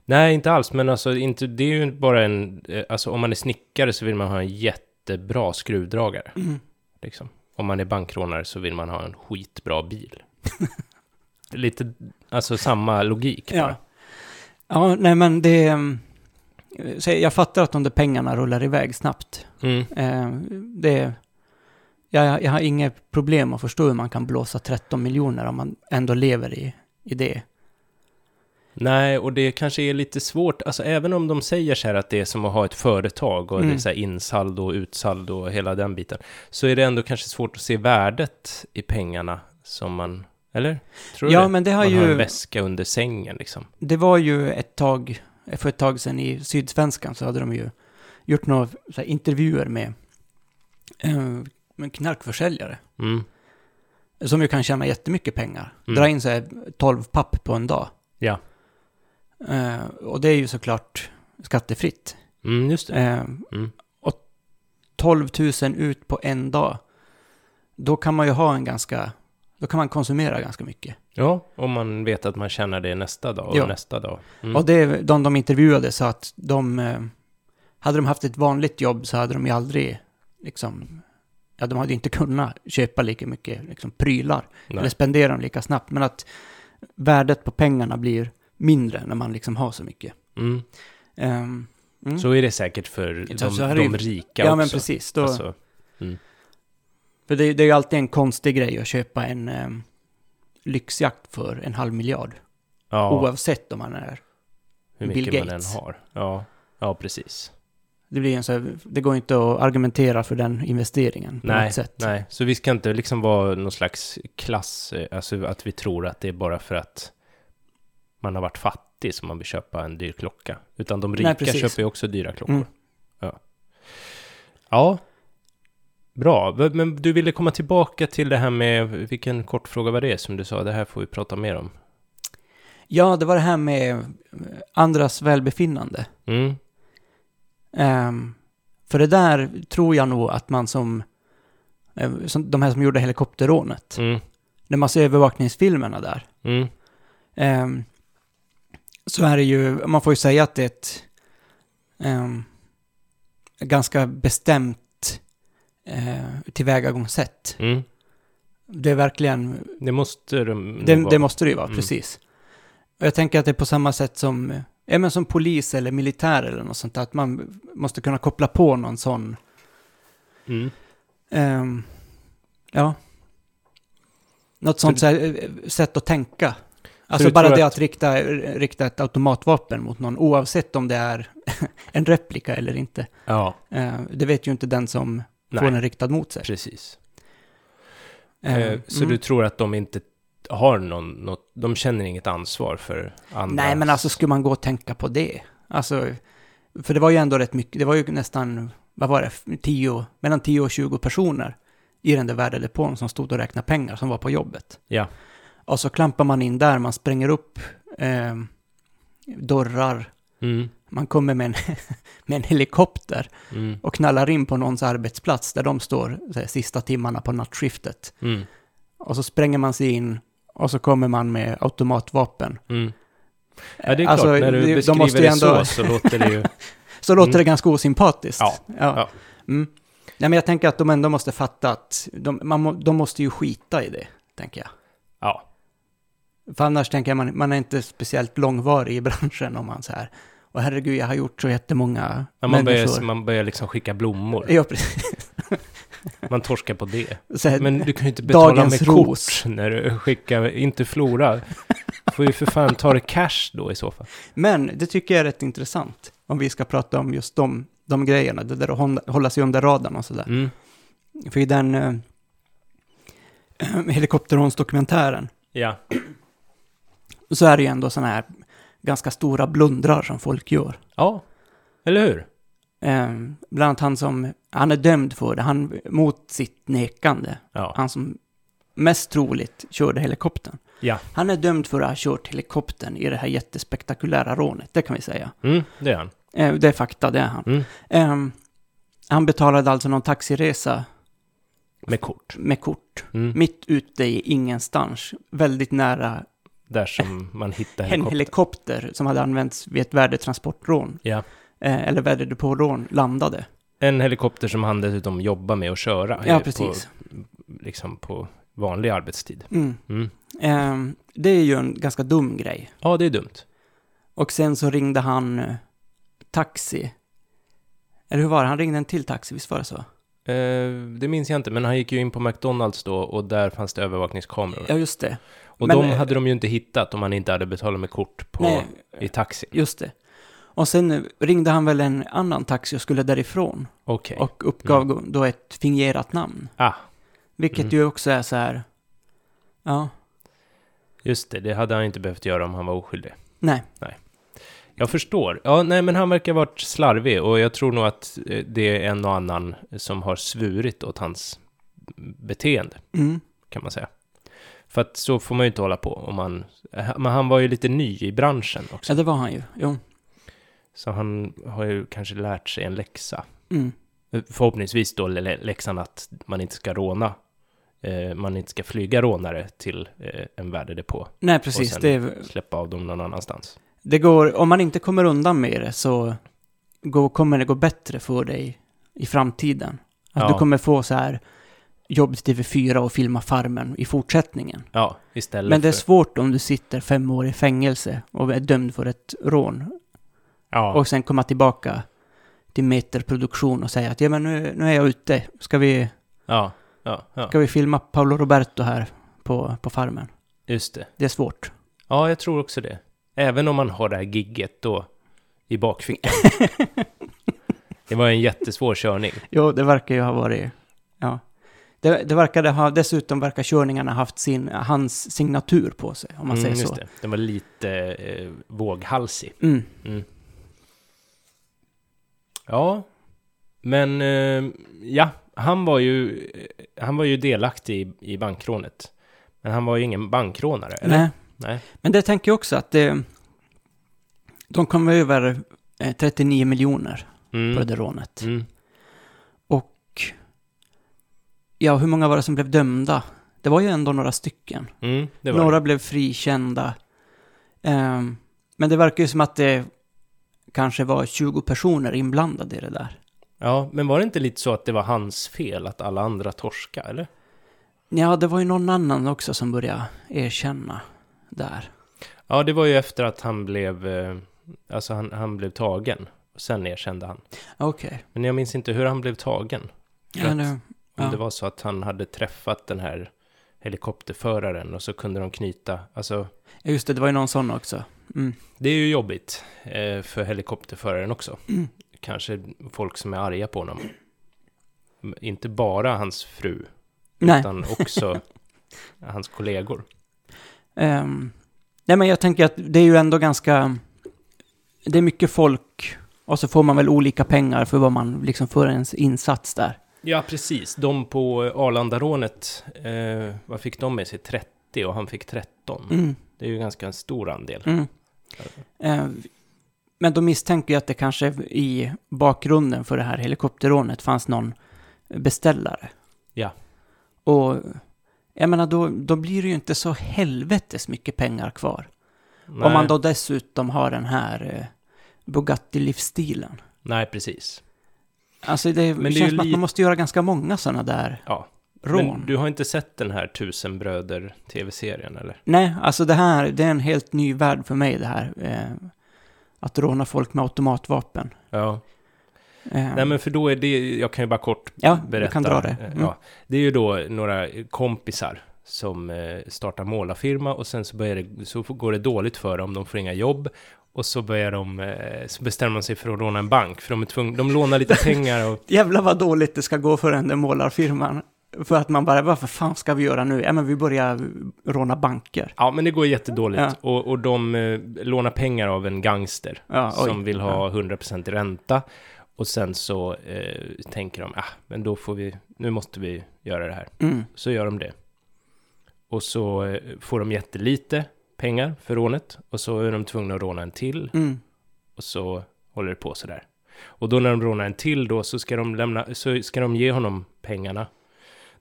Speaker 2: Nej, inte alls, men alltså inte, det är ju bara en, eh, alltså om man är snickare så vill man ha en jättebra skruvdragare.
Speaker 1: Mm.
Speaker 2: Liksom. Om man är bankrånare så vill man ha en skitbra bil. lite, alltså samma logik.
Speaker 1: Ja.
Speaker 2: bara.
Speaker 1: Ja, nej men det... ehm, så Jag fattar att de där pengarna rullar iväg snabbt.
Speaker 2: Mm.
Speaker 1: Eh, Det... Jag, jag har inget problem att förstå hur man kan blåsa 13 miljoner om man ändå lever i, i det.
Speaker 2: Nej, och det kanske är lite svårt, alltså även om de säger så här att det är som att ha ett företag och det är
Speaker 1: Mm.
Speaker 2: så här insaldo och utsaldo och hela den biten, så är det ändå kanske svårt att se värdet i pengarna som man, eller? Tror du
Speaker 1: Ja,
Speaker 2: det?
Speaker 1: men det har
Speaker 2: man har en
Speaker 1: ju...
Speaker 2: väska under sängen liksom.
Speaker 1: Det var ju ett tag, för ett tag sedan i Sydsvenskan så hade de ju gjort några så här, intervjuer med, eh, med knarkförsäljare.
Speaker 2: Mm.
Speaker 1: Som ju kan tjäna jättemycket pengar.
Speaker 2: Mm.
Speaker 1: Dra in så här 12 papp på en dag.
Speaker 2: Ja.
Speaker 1: Eh, och det är ju såklart skattefritt.
Speaker 2: Mm, just det.
Speaker 1: Eh,
Speaker 2: Mm.
Speaker 1: Och 12 000 ut på en dag. Då kan man ju ha en ganska... Då kan man konsumera ganska mycket.
Speaker 2: Ja, om man vet att man känner det nästa dag och
Speaker 1: Ja.
Speaker 2: nästa dag. Mm.
Speaker 1: Och det, de de intervjuade sa att de... eh, Hade de haft ett vanligt jobb så hade de ju aldrig liksom ja, de hade ju inte kunnat köpa lika mycket liksom, prylar
Speaker 2: Nej.
Speaker 1: eller spendera dem lika snabbt. Men att värdet på pengarna blir mindre när man liksom har så mycket.
Speaker 2: Mm.
Speaker 1: Ehm, mm.
Speaker 2: Så är det säkert för
Speaker 1: Så-
Speaker 2: de,
Speaker 1: så här är
Speaker 2: de
Speaker 1: ju-
Speaker 2: rika
Speaker 1: ja,
Speaker 2: också.
Speaker 1: men precis. Då,
Speaker 2: Alltså,
Speaker 1: För det, det är ju alltid en konstig grej att köpa en ehm, lyxjakt för en halv miljard.
Speaker 2: ja,
Speaker 1: Oavsett om man är...
Speaker 2: hur
Speaker 1: Bill
Speaker 2: mycket man än
Speaker 1: Gates.
Speaker 2: har. Ja, ja precis.
Speaker 1: Det, blir en så här, det går inte att argumentera för den investeringen på
Speaker 2: Nej,
Speaker 1: något sätt.
Speaker 2: nej, så vi ska inte liksom vara någon slags klass, eh, alltså att vi tror att det är bara för att man har varit fattig som man vill köpa en dyr klocka. Utan de rika
Speaker 1: precis.
Speaker 2: köper ju också dyra klockor.
Speaker 1: Mm.
Speaker 2: Ja. ja, bra. V- Men du ville komma tillbaka till det här med, vilken kort fråga var det som du sa, det här får vi prata mer om.
Speaker 1: Ja, det var det här med eh, andras välbefinnande.
Speaker 2: Mm,
Speaker 1: Ehm, för det där tror jag nog att man som, eh, som de här som gjorde helikopterrånet,
Speaker 2: mm,
Speaker 1: när man ser övervakningsfilmerna där,
Speaker 2: mm,
Speaker 1: ehm, så är det ju, man får ju säga att det är ett ehm, ganska bestämt eh, tillvägagångssätt.
Speaker 2: mm.
Speaker 1: Det är verkligen
Speaker 2: Det måste de
Speaker 1: Det,
Speaker 2: nog
Speaker 1: det måste det ju vara,
Speaker 2: Mm.
Speaker 1: precis. Och jag tänker att det är på samma sätt som, eh, ja, men som polis eller militär eller något sånt där, att man måste kunna koppla på någon sån,
Speaker 2: Mm.
Speaker 1: ehm, ja, något sånt så här, eh, sätt att tänka. Alltså
Speaker 2: du
Speaker 1: bara
Speaker 2: tror
Speaker 1: det
Speaker 2: att-
Speaker 1: att rikta, rikta ett automatvapen mot någon, oavsett om det är en replika eller inte.
Speaker 2: Ja,
Speaker 1: Eh, det vet ju inte den som får
Speaker 2: nej,
Speaker 1: den riktad mot sig.
Speaker 2: precis.
Speaker 1: Eh,
Speaker 2: Eh, Så
Speaker 1: mm.
Speaker 2: du tror att de inte har någon, något, de känner inget ansvar för andra?
Speaker 1: Nej, men alltså skulle man gå och tänka på det? Alltså, för det var ju ändå rätt mycket, det var ju nästan, vad var det, 10, mellan 10 och 20 personer i den där värdedepån som stod och räknade pengar som var på jobbet.
Speaker 2: Ja.
Speaker 1: Och så klampar man in där, man spränger upp eh, dörrar,
Speaker 2: Mm,
Speaker 1: man kommer med en, med en helikopter
Speaker 2: mm,
Speaker 1: och knallar in på någons arbetsplats där de står så här, sista timmarna på nattskiftet.
Speaker 2: mm,
Speaker 1: Och så spränger man sig in och så kommer man med automatvapen.
Speaker 2: mm. Ja, det är
Speaker 1: Alltså,
Speaker 2: klart, när du
Speaker 1: de
Speaker 2: beskriver
Speaker 1: måste ju
Speaker 2: det
Speaker 1: ändå-
Speaker 2: så, så låter det ju...
Speaker 1: så låter
Speaker 2: Mm.
Speaker 1: det ganska osympatiskt.
Speaker 2: Ja,
Speaker 1: ja.
Speaker 2: ja.
Speaker 1: Mm. Nej, men jag tänker att de ändå måste fatta att de, man må, de måste ju skita i det, tänker jag.
Speaker 2: Ja,
Speaker 1: För annars tänker jag, man, man är inte speciellt långvarig i branschen om man så här, och herregud, jag har gjort så jättemånga
Speaker 2: när man, börjar,
Speaker 1: människor.
Speaker 2: man börjar liksom skicka blommor.
Speaker 1: Ja, precis.
Speaker 2: Man torskar på det.
Speaker 1: Så här,
Speaker 2: Men du kan ju inte betala
Speaker 1: Eh, Dagens
Speaker 2: med
Speaker 1: ros.
Speaker 2: kort när du skickar, inte Flora. får ju för fan ta det cash då i så fall.
Speaker 1: men det tycker jag är rätt intressant, om vi ska prata om just de, de grejerna, det där att hålla, hålla sig under radarn och sådär.
Speaker 2: Mm,
Speaker 1: För i den eh, helikopterhånsdokumentären
Speaker 2: ja,
Speaker 1: så är det ju ändå sådana här ganska stora blundrar som folk gör.
Speaker 2: ja, eller hur?
Speaker 1: Eh, bland annat han som, han är dömd för det, han mot sitt nekande.
Speaker 2: Ja,
Speaker 1: Han som mest troligt körde helikoptern.
Speaker 2: ja.
Speaker 1: Han är dömd för att ha kört helikoptern i det här jättespektakulära rånet, det kan vi säga.
Speaker 2: Mm, det är han.
Speaker 1: Eh, det är fakta, det är han.
Speaker 2: Mm.
Speaker 1: Eh, han betalade alltså någon taxiresa
Speaker 2: Med kort.
Speaker 1: med kort,
Speaker 2: Mm.
Speaker 1: mitt ute i ingenstans, väldigt nära
Speaker 2: Där som man hittar
Speaker 1: en
Speaker 2: helikoptern.
Speaker 1: helikopter som hade använts vid ett värdetransportrån,
Speaker 2: Ja.
Speaker 1: eh, eller värdedepårån, landade.
Speaker 2: En helikopter som han dessutom jobbar med att köra. eh,
Speaker 1: Ja, precis.
Speaker 2: På, liksom på vanlig arbetstid.
Speaker 1: Mm.
Speaker 2: Mm.
Speaker 1: Eh, det är ju en ganska dum grej.
Speaker 2: Ja, det är dumt.
Speaker 1: Och sen så ringde han eh, taxi. Eller hur var det? Han ringde en till taxi, visst var det så?
Speaker 2: Eh, det minns jag inte, men han gick ju in på McDonalds då och där fanns det övervakningskameror.
Speaker 1: Ja, just det.
Speaker 2: och
Speaker 1: men- eh,
Speaker 2: de hade de ju inte hittat om han inte hade betalat med kort på,
Speaker 1: Nej,
Speaker 2: i taxi.
Speaker 1: just det. Och sen eh, ringde han väl en annan taxi och skulle därifrån.
Speaker 2: Okej. Mm.
Speaker 1: Och uppgav då ett fingerat namn.
Speaker 2: Ah,
Speaker 1: Vilket
Speaker 2: Mm.
Speaker 1: ju också är så här... Ja,
Speaker 2: just det. Det hade han inte behövt göra om han var oskyldig.
Speaker 1: nej.
Speaker 2: Jag förstår. Ja, nej, men han verkar ha varit slarvig och jag tror nog att eh, det är en och annan som har svurit åt hans beteende.
Speaker 1: Mm.
Speaker 2: kan man säga. För att så får man ju inte hålla på om man... Men han var ju lite ny i branschen också.
Speaker 1: Ja, det var han ju. Jo.
Speaker 2: Så han har ju kanske lärt sig en läxa.
Speaker 1: Mm.
Speaker 2: Förhoppningsvis då lä- läxan att man inte ska råna. Eh, man inte ska flyga rånare till eh, en värdedepå.
Speaker 1: Nej, precis.
Speaker 2: sen-
Speaker 1: Det, är-
Speaker 2: Släppa av dem någon annanstans.
Speaker 1: det går... Om man inte kommer undan med det så går, kommer det gå bättre för dig i framtiden. Att
Speaker 2: Ja.
Speaker 1: du kommer få så här jobb till TV4 och filma Farmen i fortsättningen.
Speaker 2: Ja, istället
Speaker 1: Men det är
Speaker 2: för...
Speaker 1: svårt om du sitter fem år i fängelse och är dömd för ett rån
Speaker 2: Ja,
Speaker 1: och sen komma tillbaka till meterproduktion och säga att ja men nu, nu är jag ute, ska vi,
Speaker 2: ja, ja, ja.
Speaker 1: ska vi filma Paolo Roberto här på, på Farmen?
Speaker 2: just det.
Speaker 1: Det är svårt.
Speaker 2: Ja, jag tror också det. Även om man har det här gigget då i bakfickan. det var en jättesvår körning.
Speaker 1: Jo, det verkar ju ha varit, ja. Det, det verkade ha, dessutom verkar körningarna haft sin, hans signatur på sig, om man
Speaker 2: Mm,
Speaker 1: säger
Speaker 2: just
Speaker 1: så.
Speaker 2: Det. Den var lite eh, våghalsig.
Speaker 1: Mm.
Speaker 2: Mm. Ja, men eh, ja, han var ju, eh, han var ju delaktig i, i bankrånet. Men han var ju ingen bankrånare, eller?
Speaker 1: Nej.
Speaker 2: Nej.
Speaker 1: Men det tänker jag också att det, de kom över eh, 39 miljoner på
Speaker 2: Mm.
Speaker 1: det rånet.
Speaker 2: Mm.
Speaker 1: Och ja, hur många var det som blev dömda? Det var ju ändå några stycken.
Speaker 2: Mm, det var
Speaker 1: Några
Speaker 2: det.
Speaker 1: blev frikända. Ehm, men det verkar ju som att det kanske var 20 personer inblandade i det där.
Speaker 2: Ja, men var det inte lite så att det var hans fel att alla andra torska, eller?
Speaker 1: Ja, det var ju någon annan också som började erkänna där.
Speaker 2: Ja, det var ju efter att han blev, eh, alltså han, han blev tagen. Och sen erkände han.
Speaker 1: Okej.
Speaker 2: Men jag minns inte hur han blev tagen.
Speaker 1: Ja, nu-
Speaker 2: Om
Speaker 1: Ja.
Speaker 2: det var så att han hade träffat den här helikopterföraren och så kunde de knyta, alltså
Speaker 1: ja, just det, det var ju någon sån också. Mm.
Speaker 2: det är ju jobbigt eh, för helikopterföraren också. Kanske folk som är arga på honom. M- Inte bara hans fru,
Speaker 1: Nej.
Speaker 2: utan också hans kollegor.
Speaker 1: Ehm, nej, men jag tänker att det är ju ändå ganska... Det är mycket folk och så får man väl olika pengar för vad man liksom för ens insats där.
Speaker 2: Ja, precis. De på Arlandarånet, eh, vad fick de med sig? 30 och han fick 13.
Speaker 1: Mm,
Speaker 2: Det är ju ganska en stor andel.
Speaker 1: mm. Ehm, men de misstänker ju att det kanske i bakgrunden för det här helikopterrånet fanns någon beställare.
Speaker 2: Ja.
Speaker 1: Och jag menar, då, då blir det ju inte så helvetes mycket pengar kvar. Om
Speaker 2: Nej,
Speaker 1: man då dessutom har den här eh, Bugatti-livsstilen.
Speaker 2: nej, precis.
Speaker 1: Alltså det
Speaker 2: Men det är ju
Speaker 1: känns som att
Speaker 2: lite-
Speaker 1: man måste göra ganska många sådana där
Speaker 2: Ja.
Speaker 1: rån.
Speaker 2: Men du har inte sett den här Tusen bröder tv-serien, eller?
Speaker 1: Nej, alltså det här, det är en helt ny värld för mig det här. Eh, att råna folk med automatvapen.
Speaker 2: Ja.
Speaker 1: Eh,
Speaker 2: Nej, men för då är det, jag kan ju bara kort
Speaker 1: ja,
Speaker 2: berätta. Eh,
Speaker 1: du kan dra det. Mm.
Speaker 2: Ja, det är ju då några kompisar som eh, startar målarfirma och sen så, börjar det, så går det dåligt för dem, de får inga jobb. Och så, börjar de, eh, så bestämmer de sig för att låna en bank, för de är tvungna, de lånar lite pengar och...
Speaker 1: Jävlar vad dåligt det ska gå för den där målarfirman. För att man bara, varför fan ska vi göra nu? Ja, men vi börjar råna banker.
Speaker 2: Ja, men det går jättedåligt.
Speaker 1: Ja.
Speaker 2: Och, och de eh, lånar pengar av en gangster
Speaker 1: Ja, oj.
Speaker 2: som vill ha 100% ränta. Och sen så eh, tänker de, ah, men då får vi, nu måste vi göra det här.
Speaker 1: Mm.
Speaker 2: Så gör de det. Och så eh, får de jättelite pengar för rånet. Och så är de tvungna att råna en till.
Speaker 1: Mm.
Speaker 2: Och så håller det på sådär. Och då när de rånar en till då så ska de, lämna, så ska de ge honom pengarna.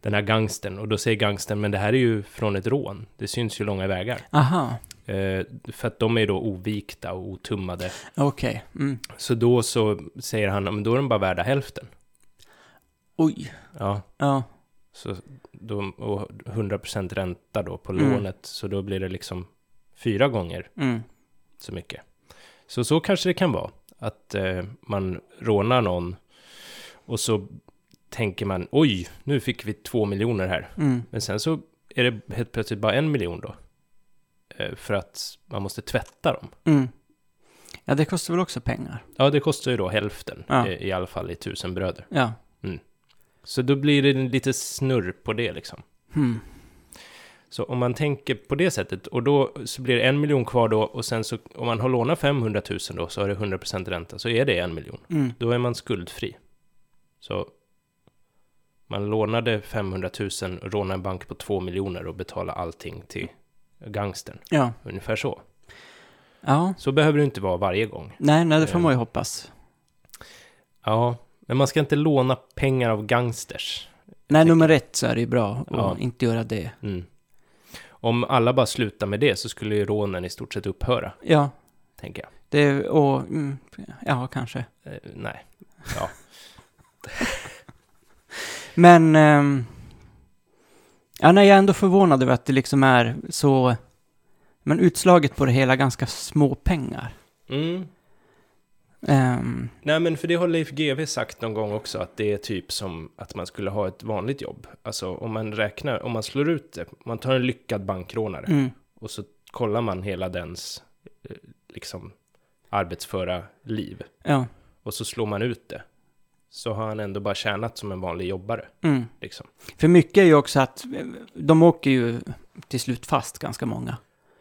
Speaker 2: Den här gangsten. Och då säger gangsten, men det här är ju från ett rån. Det syns ju långa vägar.
Speaker 1: Aha,
Speaker 2: Eh, för att de är då ovikta och otummade.
Speaker 1: okej. Mm.
Speaker 2: Så då så säger han, "Ja, men då är de bara värda hälften.
Speaker 1: Oj,
Speaker 2: Ja,
Speaker 1: ja.
Speaker 2: så de, och 100% ränta då på
Speaker 1: Mm.
Speaker 2: lånet. Så då blir det liksom fyra gånger
Speaker 1: Mm.
Speaker 2: så mycket. Så så kanske det kan vara. Att eh, man rånar någon och så tänker man, oj, nu fick vi två miljoner här.
Speaker 1: Mm.
Speaker 2: Men sen så är det helt plötsligt bara en miljon då. Eh, för att man måste tvätta dem.
Speaker 1: Mm. Ja, det kostar väl också pengar.
Speaker 2: Ja, det kostar ju då hälften,
Speaker 1: Ja.
Speaker 2: eh, i alla fall i tusen bröder.
Speaker 1: Ja.
Speaker 2: Så då blir det en lite snurr på det liksom.
Speaker 1: Hmm.
Speaker 2: Så om man tänker på det sättet, och då så blir det en miljon kvar då, och sen så om man har lånat 500 000 då, så har det 100% ränta, så är det en miljon.
Speaker 1: Mm.
Speaker 2: Då är man skuldfri. Så man lånade 500 000, rånade en bank på 2 miljoner och betalade allting till gangstern.
Speaker 1: Ja.
Speaker 2: Ungefär så.
Speaker 1: Ja.
Speaker 2: Så behöver det inte vara varje gång.
Speaker 1: Nej, nej, det
Speaker 2: Eh,
Speaker 1: får man ju hoppas.
Speaker 2: Ja, men man ska inte låna pengar av gangsters.
Speaker 1: Nej,
Speaker 2: tänker-
Speaker 1: nummer ett så är det ju bra att
Speaker 2: Ja.
Speaker 1: inte göra det.
Speaker 2: Mm. Om alla bara slutar med det så skulle ju rånen i stort sett upphöra,
Speaker 1: Ja,
Speaker 2: tänker jag.
Speaker 1: det och... Mm, ja, kanske.
Speaker 2: Eh, nej.
Speaker 1: Men... ehm, Ja, nej, jag är ändå förvånad över att det liksom är så... Men utslaget på det hela ganska små pengar.
Speaker 2: Mm.
Speaker 1: Ehm,
Speaker 2: Nej, men för det har Leif GW sagt någon gång också, att det är typ som att man skulle ha ett vanligt jobb. Alltså om man räknar, om man slår ut det, man tar en lyckad bankrånare
Speaker 1: mm.
Speaker 2: och så kollar man hela dens eh, liksom arbetsföra liv
Speaker 1: Ja.
Speaker 2: och så slår man ut det. Så har han ändå bara tjänat som en vanlig jobbare,
Speaker 1: Mm.
Speaker 2: liksom.
Speaker 1: För mycket är ju också att eh, de åker ju till slut fast ganska många.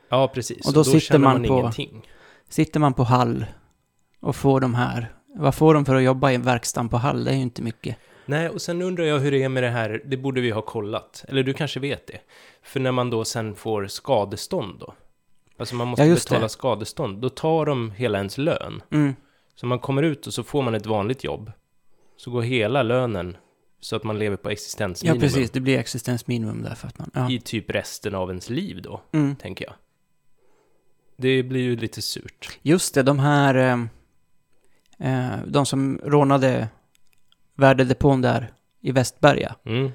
Speaker 2: Ja, precis.
Speaker 1: Och då sitter
Speaker 2: tjänar
Speaker 1: man på-
Speaker 2: ingenting.
Speaker 1: Sitter man på Hall och får de här, vad får de för att jobba i verkstaden på Hall? Det är ju inte mycket.
Speaker 2: Nej, och sen undrar jag hur det är med det här, det borde vi ha kollat. Eller du kanske vet det. För när man då sen får skadestånd då. Alltså man måste
Speaker 1: Ja, just
Speaker 2: betala
Speaker 1: det.
Speaker 2: skadestånd. Då tar de hela ens lön.
Speaker 1: Mm.
Speaker 2: Så man kommer ut och så får man ett vanligt jobb. Så går hela lönen så att man lever på
Speaker 1: Ja,
Speaker 2: existensminimum.
Speaker 1: precis. Det blir existensminimum där för att man... Ja.
Speaker 2: I typ resten av ens liv då,
Speaker 1: Mm.
Speaker 2: tänker jag. Det blir ju lite surt.
Speaker 1: Just det, de här... ehm, eh, de som rånade värdedepån där i Västberga.
Speaker 2: Mm,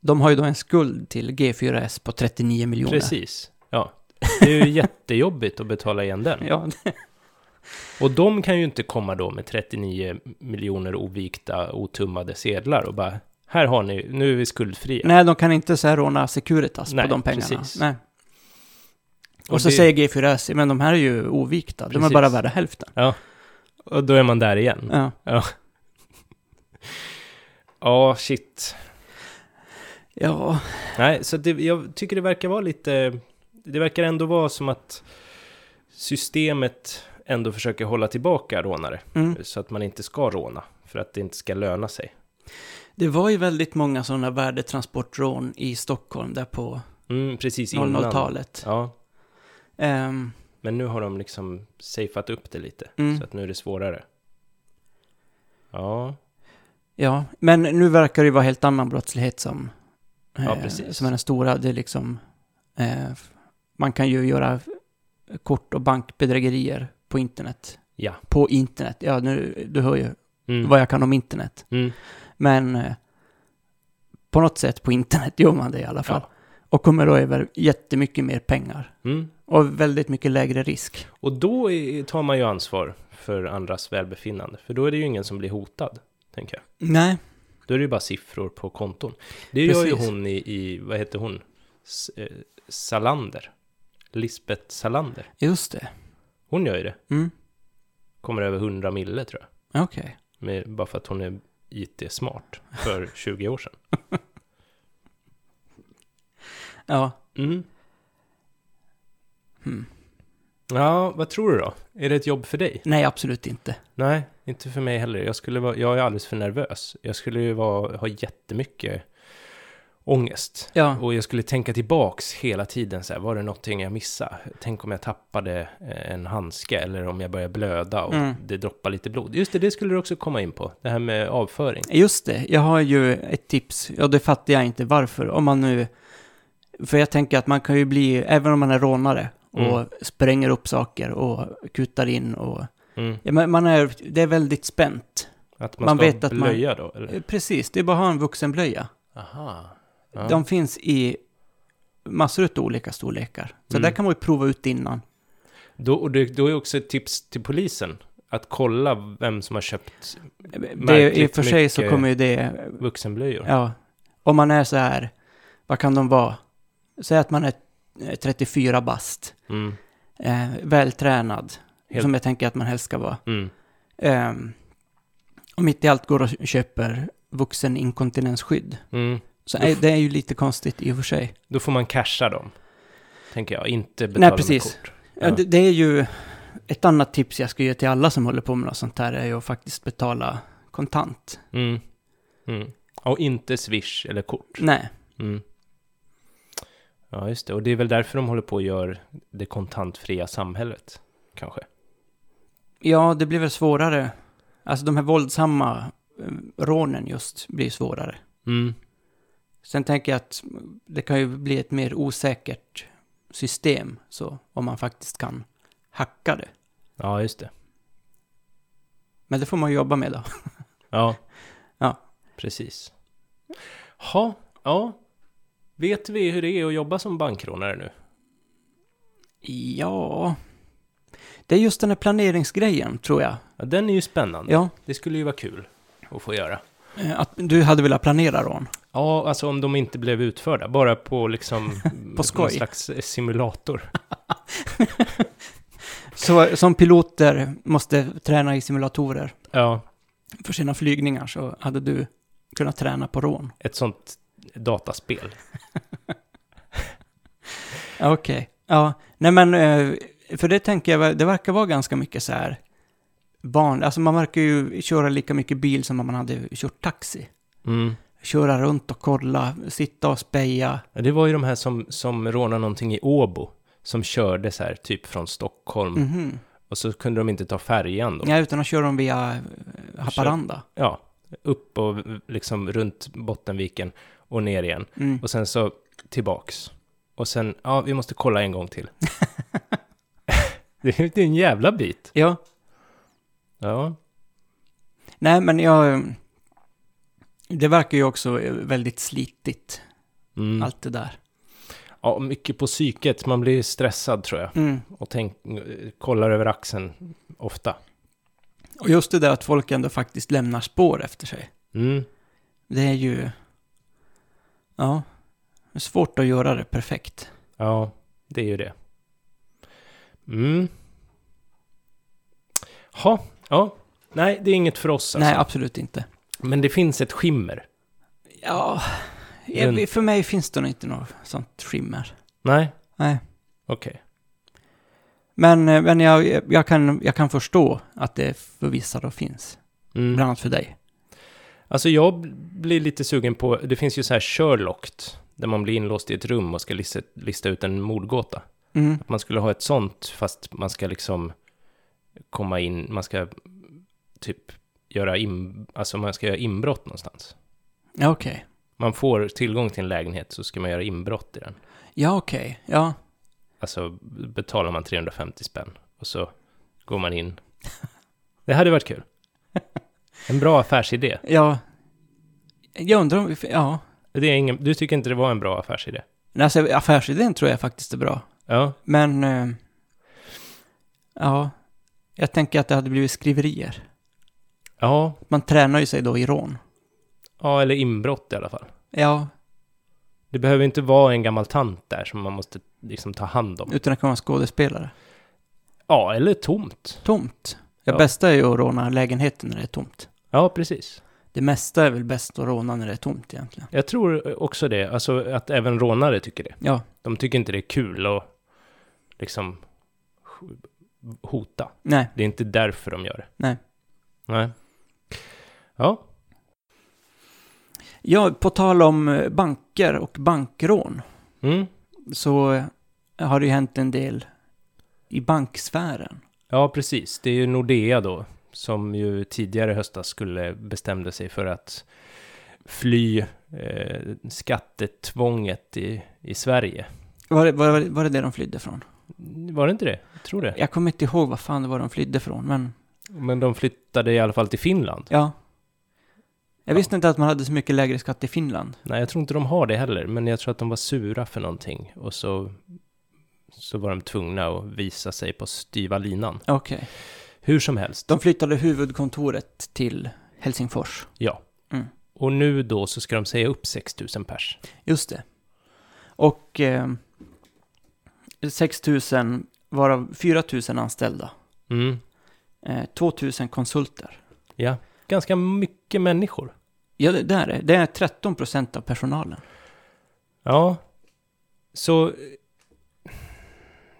Speaker 1: De har ju då en skuld till G4S på 39 miljoner.
Speaker 2: precis. Ja. Det är ju jättejobbigt att betala igen den.
Speaker 1: Ja,
Speaker 2: Och de kan ju inte komma då med 39 miljoner ovikta, otummade sedlar och bara här har ni, nu är vi skuldfria.
Speaker 1: Nej, de kan inte så här råna Securitas
Speaker 2: Nej,
Speaker 1: på de pengarna.
Speaker 2: precis.
Speaker 1: Nej. Och,
Speaker 2: Och
Speaker 1: så
Speaker 2: det-
Speaker 1: säger G4S, men de här är ju ovikta, de är
Speaker 2: Precis. Mm.
Speaker 1: bara värda hälften.
Speaker 2: Och då är man där igen.
Speaker 1: Ja.
Speaker 2: Ja, shit.
Speaker 1: ja,
Speaker 2: Nej, så det, jag tycker det verkar vara lite, det verkar ändå vara som att systemet ändå försöker hålla tillbaka rånare
Speaker 1: mm.
Speaker 2: så att man inte ska råna för att det inte ska löna sig.
Speaker 1: det var ju väldigt många sådana värdetransportrån i Stockholm där på
Speaker 2: Mm, precis innan.
Speaker 1: 00-talet.
Speaker 2: Ja,
Speaker 1: Ehm,
Speaker 2: men nu har de liksom safeat upp det lite
Speaker 1: Mm.
Speaker 2: så att nu är det svårare. Ja.
Speaker 1: ja, men nu verkar det ju vara helt annan brottslighet som,
Speaker 2: Ja,
Speaker 1: eh,
Speaker 2: precis.
Speaker 1: som är den stora. Det är liksom, eh, man kan ju göra kort och bankbedrägerier på internet.
Speaker 2: Ja.
Speaker 1: På internet, ja nu, du hör ju
Speaker 2: Mm.
Speaker 1: vad jag kan om internet.
Speaker 2: Mm.
Speaker 1: Men eh, på något sätt på internet gör man det i alla fall.
Speaker 2: Ja.
Speaker 1: Och kommer då över jättemycket mer pengar.
Speaker 2: Mm.
Speaker 1: Och väldigt mycket lägre risk.
Speaker 2: Och då är- tar man ju ansvar för andras välbefinnande, för då är det ju ingen som blir hotad, tänker jag.
Speaker 1: Nej.
Speaker 2: Då är det ju bara siffror på konton. Det gör ju
Speaker 1: Precis.
Speaker 2: hon i, i vad heter hon? S eh, Salander. Lisbeth Salander.
Speaker 1: Just det.
Speaker 2: Hon gör ju det.
Speaker 1: Mm.
Speaker 2: Kommer över 100 mille tror jag.
Speaker 1: Okej.
Speaker 2: Med, bara för att hon är IT-smart för 20 år sedan.
Speaker 1: Ja.
Speaker 2: Mm.
Speaker 1: Hmm.
Speaker 2: Ja, vad tror du då? Är det ett jobb för dig?
Speaker 1: Nej, absolut inte.
Speaker 2: Nej, inte för mig heller. Jag, skulle vara, jag är alldeles för nervös. Jag skulle ju vara, ha jättemycket ångest.
Speaker 1: Ja.
Speaker 2: Och jag skulle tänka tillbaks hela tiden så här, var det någonting jag missade? Tänk om jag tappade eh, en handske eller om jag började blöda och
Speaker 1: Mm.
Speaker 2: det droppar lite blod. Just det, det skulle du också komma in på, det här med avföring.
Speaker 1: Just det. Jag har ju ett tips. Ja, det fattar jag inte varför. Om man nu... För jag tänker att man kan ju bli, även om man är rånare och spränger upp saker och kutar in och...
Speaker 2: Mm.
Speaker 1: Ja, men man är, det är väldigt spänt.
Speaker 2: Att man,
Speaker 1: Man
Speaker 2: ska
Speaker 1: vet
Speaker 2: ha
Speaker 1: att man-
Speaker 2: blöja då? Eller?
Speaker 1: Eh, Precis, det är bara att ha en vuxenblöja.
Speaker 2: Aha. Ja.
Speaker 1: De finns i massor av olika storlekar. Så
Speaker 2: Mm.
Speaker 1: där kan man ju prova ut innan.
Speaker 2: Då, och det, då är också ett tips till polisen, att kolla vem som har köpt
Speaker 1: Det, I
Speaker 2: Märkligt
Speaker 1: och för sig så
Speaker 2: mycket-
Speaker 1: kommer ju det,
Speaker 2: vuxenblöjor.
Speaker 1: ja, om man är så här, vad kan de vara? Säg att man är eh, 34 bast,
Speaker 2: Mm.
Speaker 1: eh, vältränad,
Speaker 2: Helt-
Speaker 1: som jag tänker att man helst ska vara.
Speaker 2: Mm.
Speaker 1: Eh, och mitt i allt går och köper vuxen inkontinensskydd.
Speaker 2: Mm.
Speaker 1: Så eh, det är ju lite konstigt i och för sig.
Speaker 2: Då får man casha dem, tänker jag. Inte betala
Speaker 1: Nej, precis.
Speaker 2: med kort.
Speaker 1: Ja. Det, det är ju ett annat tips jag ska ge till alla som håller på med något sånt här är ju att faktiskt betala kontant.
Speaker 2: Mm. Mm. Och inte swish eller kort.
Speaker 1: Nej.
Speaker 2: Mm. Ja, just det. Och det är väl därför de håller på och gör det kontantfria samhället, kanske.
Speaker 1: Ja, det blir väl svårare. Alltså de här våldsamma eh, rånen just blir svårare.
Speaker 2: Mm.
Speaker 1: Sen tänker jag att det kan ju bli ett mer osäkert system så om man faktiskt kan hacka det.
Speaker 2: Ja, just det.
Speaker 1: Men det får man ju jobba med då.
Speaker 2: Ja.
Speaker 1: Ja.
Speaker 2: Precis. Ha, ja. Vet vi hur det är att jobba som bankrånare nu?
Speaker 1: Ja... Det är just den här planeringsgrejen, tror jag.
Speaker 2: Ja, den är ju spännande.
Speaker 1: Ja,
Speaker 2: Det skulle ju vara kul att få göra.
Speaker 1: eh, att du hade velat planera rån.
Speaker 2: Ja, alltså om de inte blev utförda, bara på liksom...
Speaker 1: På skoj.
Speaker 2: Någon slags simulator.
Speaker 1: Så, som piloter måste träna i simulatorer
Speaker 2: Ja,
Speaker 1: för sina flygningar så hade du kunnat träna på rån.
Speaker 2: ett sånt dataspel.
Speaker 1: Ja, Okej. Ja, nej men, eh, för det tänker jag, det verkar vara ganska mycket så här barn, alltså man verkar ju köra lika mycket bil som om man hade kört taxi.
Speaker 2: Mm.
Speaker 1: Köra runt och kolla, sitta och speja.
Speaker 2: Ja, Det var ju de här som, som rånade någonting i Åbo, som körde så här typ från Stockholm,
Speaker 1: Mhm.
Speaker 2: och så kunde de inte ta färjan då.
Speaker 1: Ja, utan att köra dem via eh, Haparanda.
Speaker 2: Ja, upp och v- liksom runt Bottenviken och ner igen.
Speaker 1: Mm.
Speaker 2: Och sen så tillbaks. Och sen, ja, vi måste kolla en gång till. det är det är en jävla bit.
Speaker 1: Ja,
Speaker 2: Ja,
Speaker 1: nej men jag... eh, Det verkar ju också eh, väldigt slitigt,
Speaker 2: mm.
Speaker 1: allt det där.
Speaker 2: ja mycket på psyket. Man blir stressad tror jag.
Speaker 1: Mm.
Speaker 2: Och tänk, eh, kollar över axeln ofta.
Speaker 1: Och just det där att folk ändå faktiskt lämnar spår efter sig.
Speaker 2: Mm.
Speaker 1: Det är ju... Ja. det är Svårt att göra det perfekt.
Speaker 2: Ja, det är ju det. Mm. Ha, ja. Nej, det är inget för oss alltså.
Speaker 1: Nej, absolut inte.
Speaker 2: Men det finns ett skimmer.
Speaker 1: Ja,
Speaker 2: Den-
Speaker 1: jag- för mig finns det nog inte något sånt skimmer.
Speaker 2: Nej,
Speaker 1: Nej.
Speaker 2: okej.
Speaker 1: Men, eh, men jag, jag, kan, jag kan förstå att det för vissa då finns.
Speaker 2: Mm.
Speaker 1: Bland annat för dig.
Speaker 2: Alltså jag bl- blir lite sugen på, det finns ju så här Sherlock, där man blir inlåst i ett rum och ska lista, lista ut en mordgåta.
Speaker 1: Mm.
Speaker 2: Att man skulle ha ett sånt, fast man ska liksom komma in, man ska typ göra in, alltså man ska göra inbrott någonstans.
Speaker 1: Ja, okej.
Speaker 2: Man får tillgång till en lägenhet så ska man göra inbrott i den.
Speaker 1: Ja, okej. Ja.
Speaker 2: Alltså betalar man 350 spänn och så går man in. Det hade varit kul. En bra affärsidé.
Speaker 1: Ja. Jag undrar om... vi- Ja.
Speaker 2: Det är ingen, du tycker inte det var en bra affärsidé?
Speaker 1: Nej, Alltså, affärsidén tror jag faktiskt är bra.
Speaker 2: Ja.
Speaker 1: Men... eh, Ja. Jag tänker att det hade blivit skriverier.
Speaker 2: Ja,
Speaker 1: Man tränar ju sig då i rån.
Speaker 2: Ja, eller inbrott i alla fall.
Speaker 1: Ja,
Speaker 2: Det behöver inte vara en gammal tant där som man måste liksom ta hand om.
Speaker 1: utan att kunna vara skådespelare.
Speaker 2: Ja, eller tomt.
Speaker 1: Tomt. Det
Speaker 2: Ja.
Speaker 1: bästa är ju att råna lägenheten när det är tomt.
Speaker 2: Ja, precis.
Speaker 1: Det mesta är väl bäst att råna när det är tomt egentligen.
Speaker 2: Jag tror också det, alltså att även rånare tycker det.
Speaker 1: Ja,
Speaker 2: De tycker inte det är kul att liksom sk- hota.
Speaker 1: nej.
Speaker 2: Det är inte därför de gör det.
Speaker 1: Nej.
Speaker 2: Nej. Ja,
Speaker 1: Ja, på tal om eh, banker och bankrån
Speaker 2: mm.
Speaker 1: så eh, har det ju hänt en del i banksfären.
Speaker 2: ja precis. Det är ju Nordea då, som ju tidigare i höstas skulle bestämde sig för att fly eh, skattetvånget i, i Sverige.
Speaker 1: Var det, var, det- var det det de flydde från?
Speaker 2: Var det inte det? Jag tror det.
Speaker 1: Jag kommer inte ihåg vad fan det var de flydde från, men
Speaker 2: Men de flyttade i alla fall till Finland.
Speaker 1: ja. Jag
Speaker 2: Ja.
Speaker 1: visste inte att man hade så mycket lägre skatt i Finland.
Speaker 2: Nej, jag tror inte de har det heller, men jag tror att de var sura för någonting. Och så, så var de tvungna att visa sig på styva linan.
Speaker 1: Okej.
Speaker 2: Hur som helst.
Speaker 1: De flyttade huvudkontoret till Helsingfors.
Speaker 2: Ja.
Speaker 1: Mm.
Speaker 2: Och nu då så ska de säga upp 6 000 pers.
Speaker 1: Just det. Och eh, 6 000, varav 4 000 anställda.
Speaker 2: Mm.
Speaker 1: Eh, 2 000 konsulter.
Speaker 2: Ja, ganska mycket människor.
Speaker 1: Ja, det där är det. är 13 procent av personalen.
Speaker 2: Ja. Så... eh,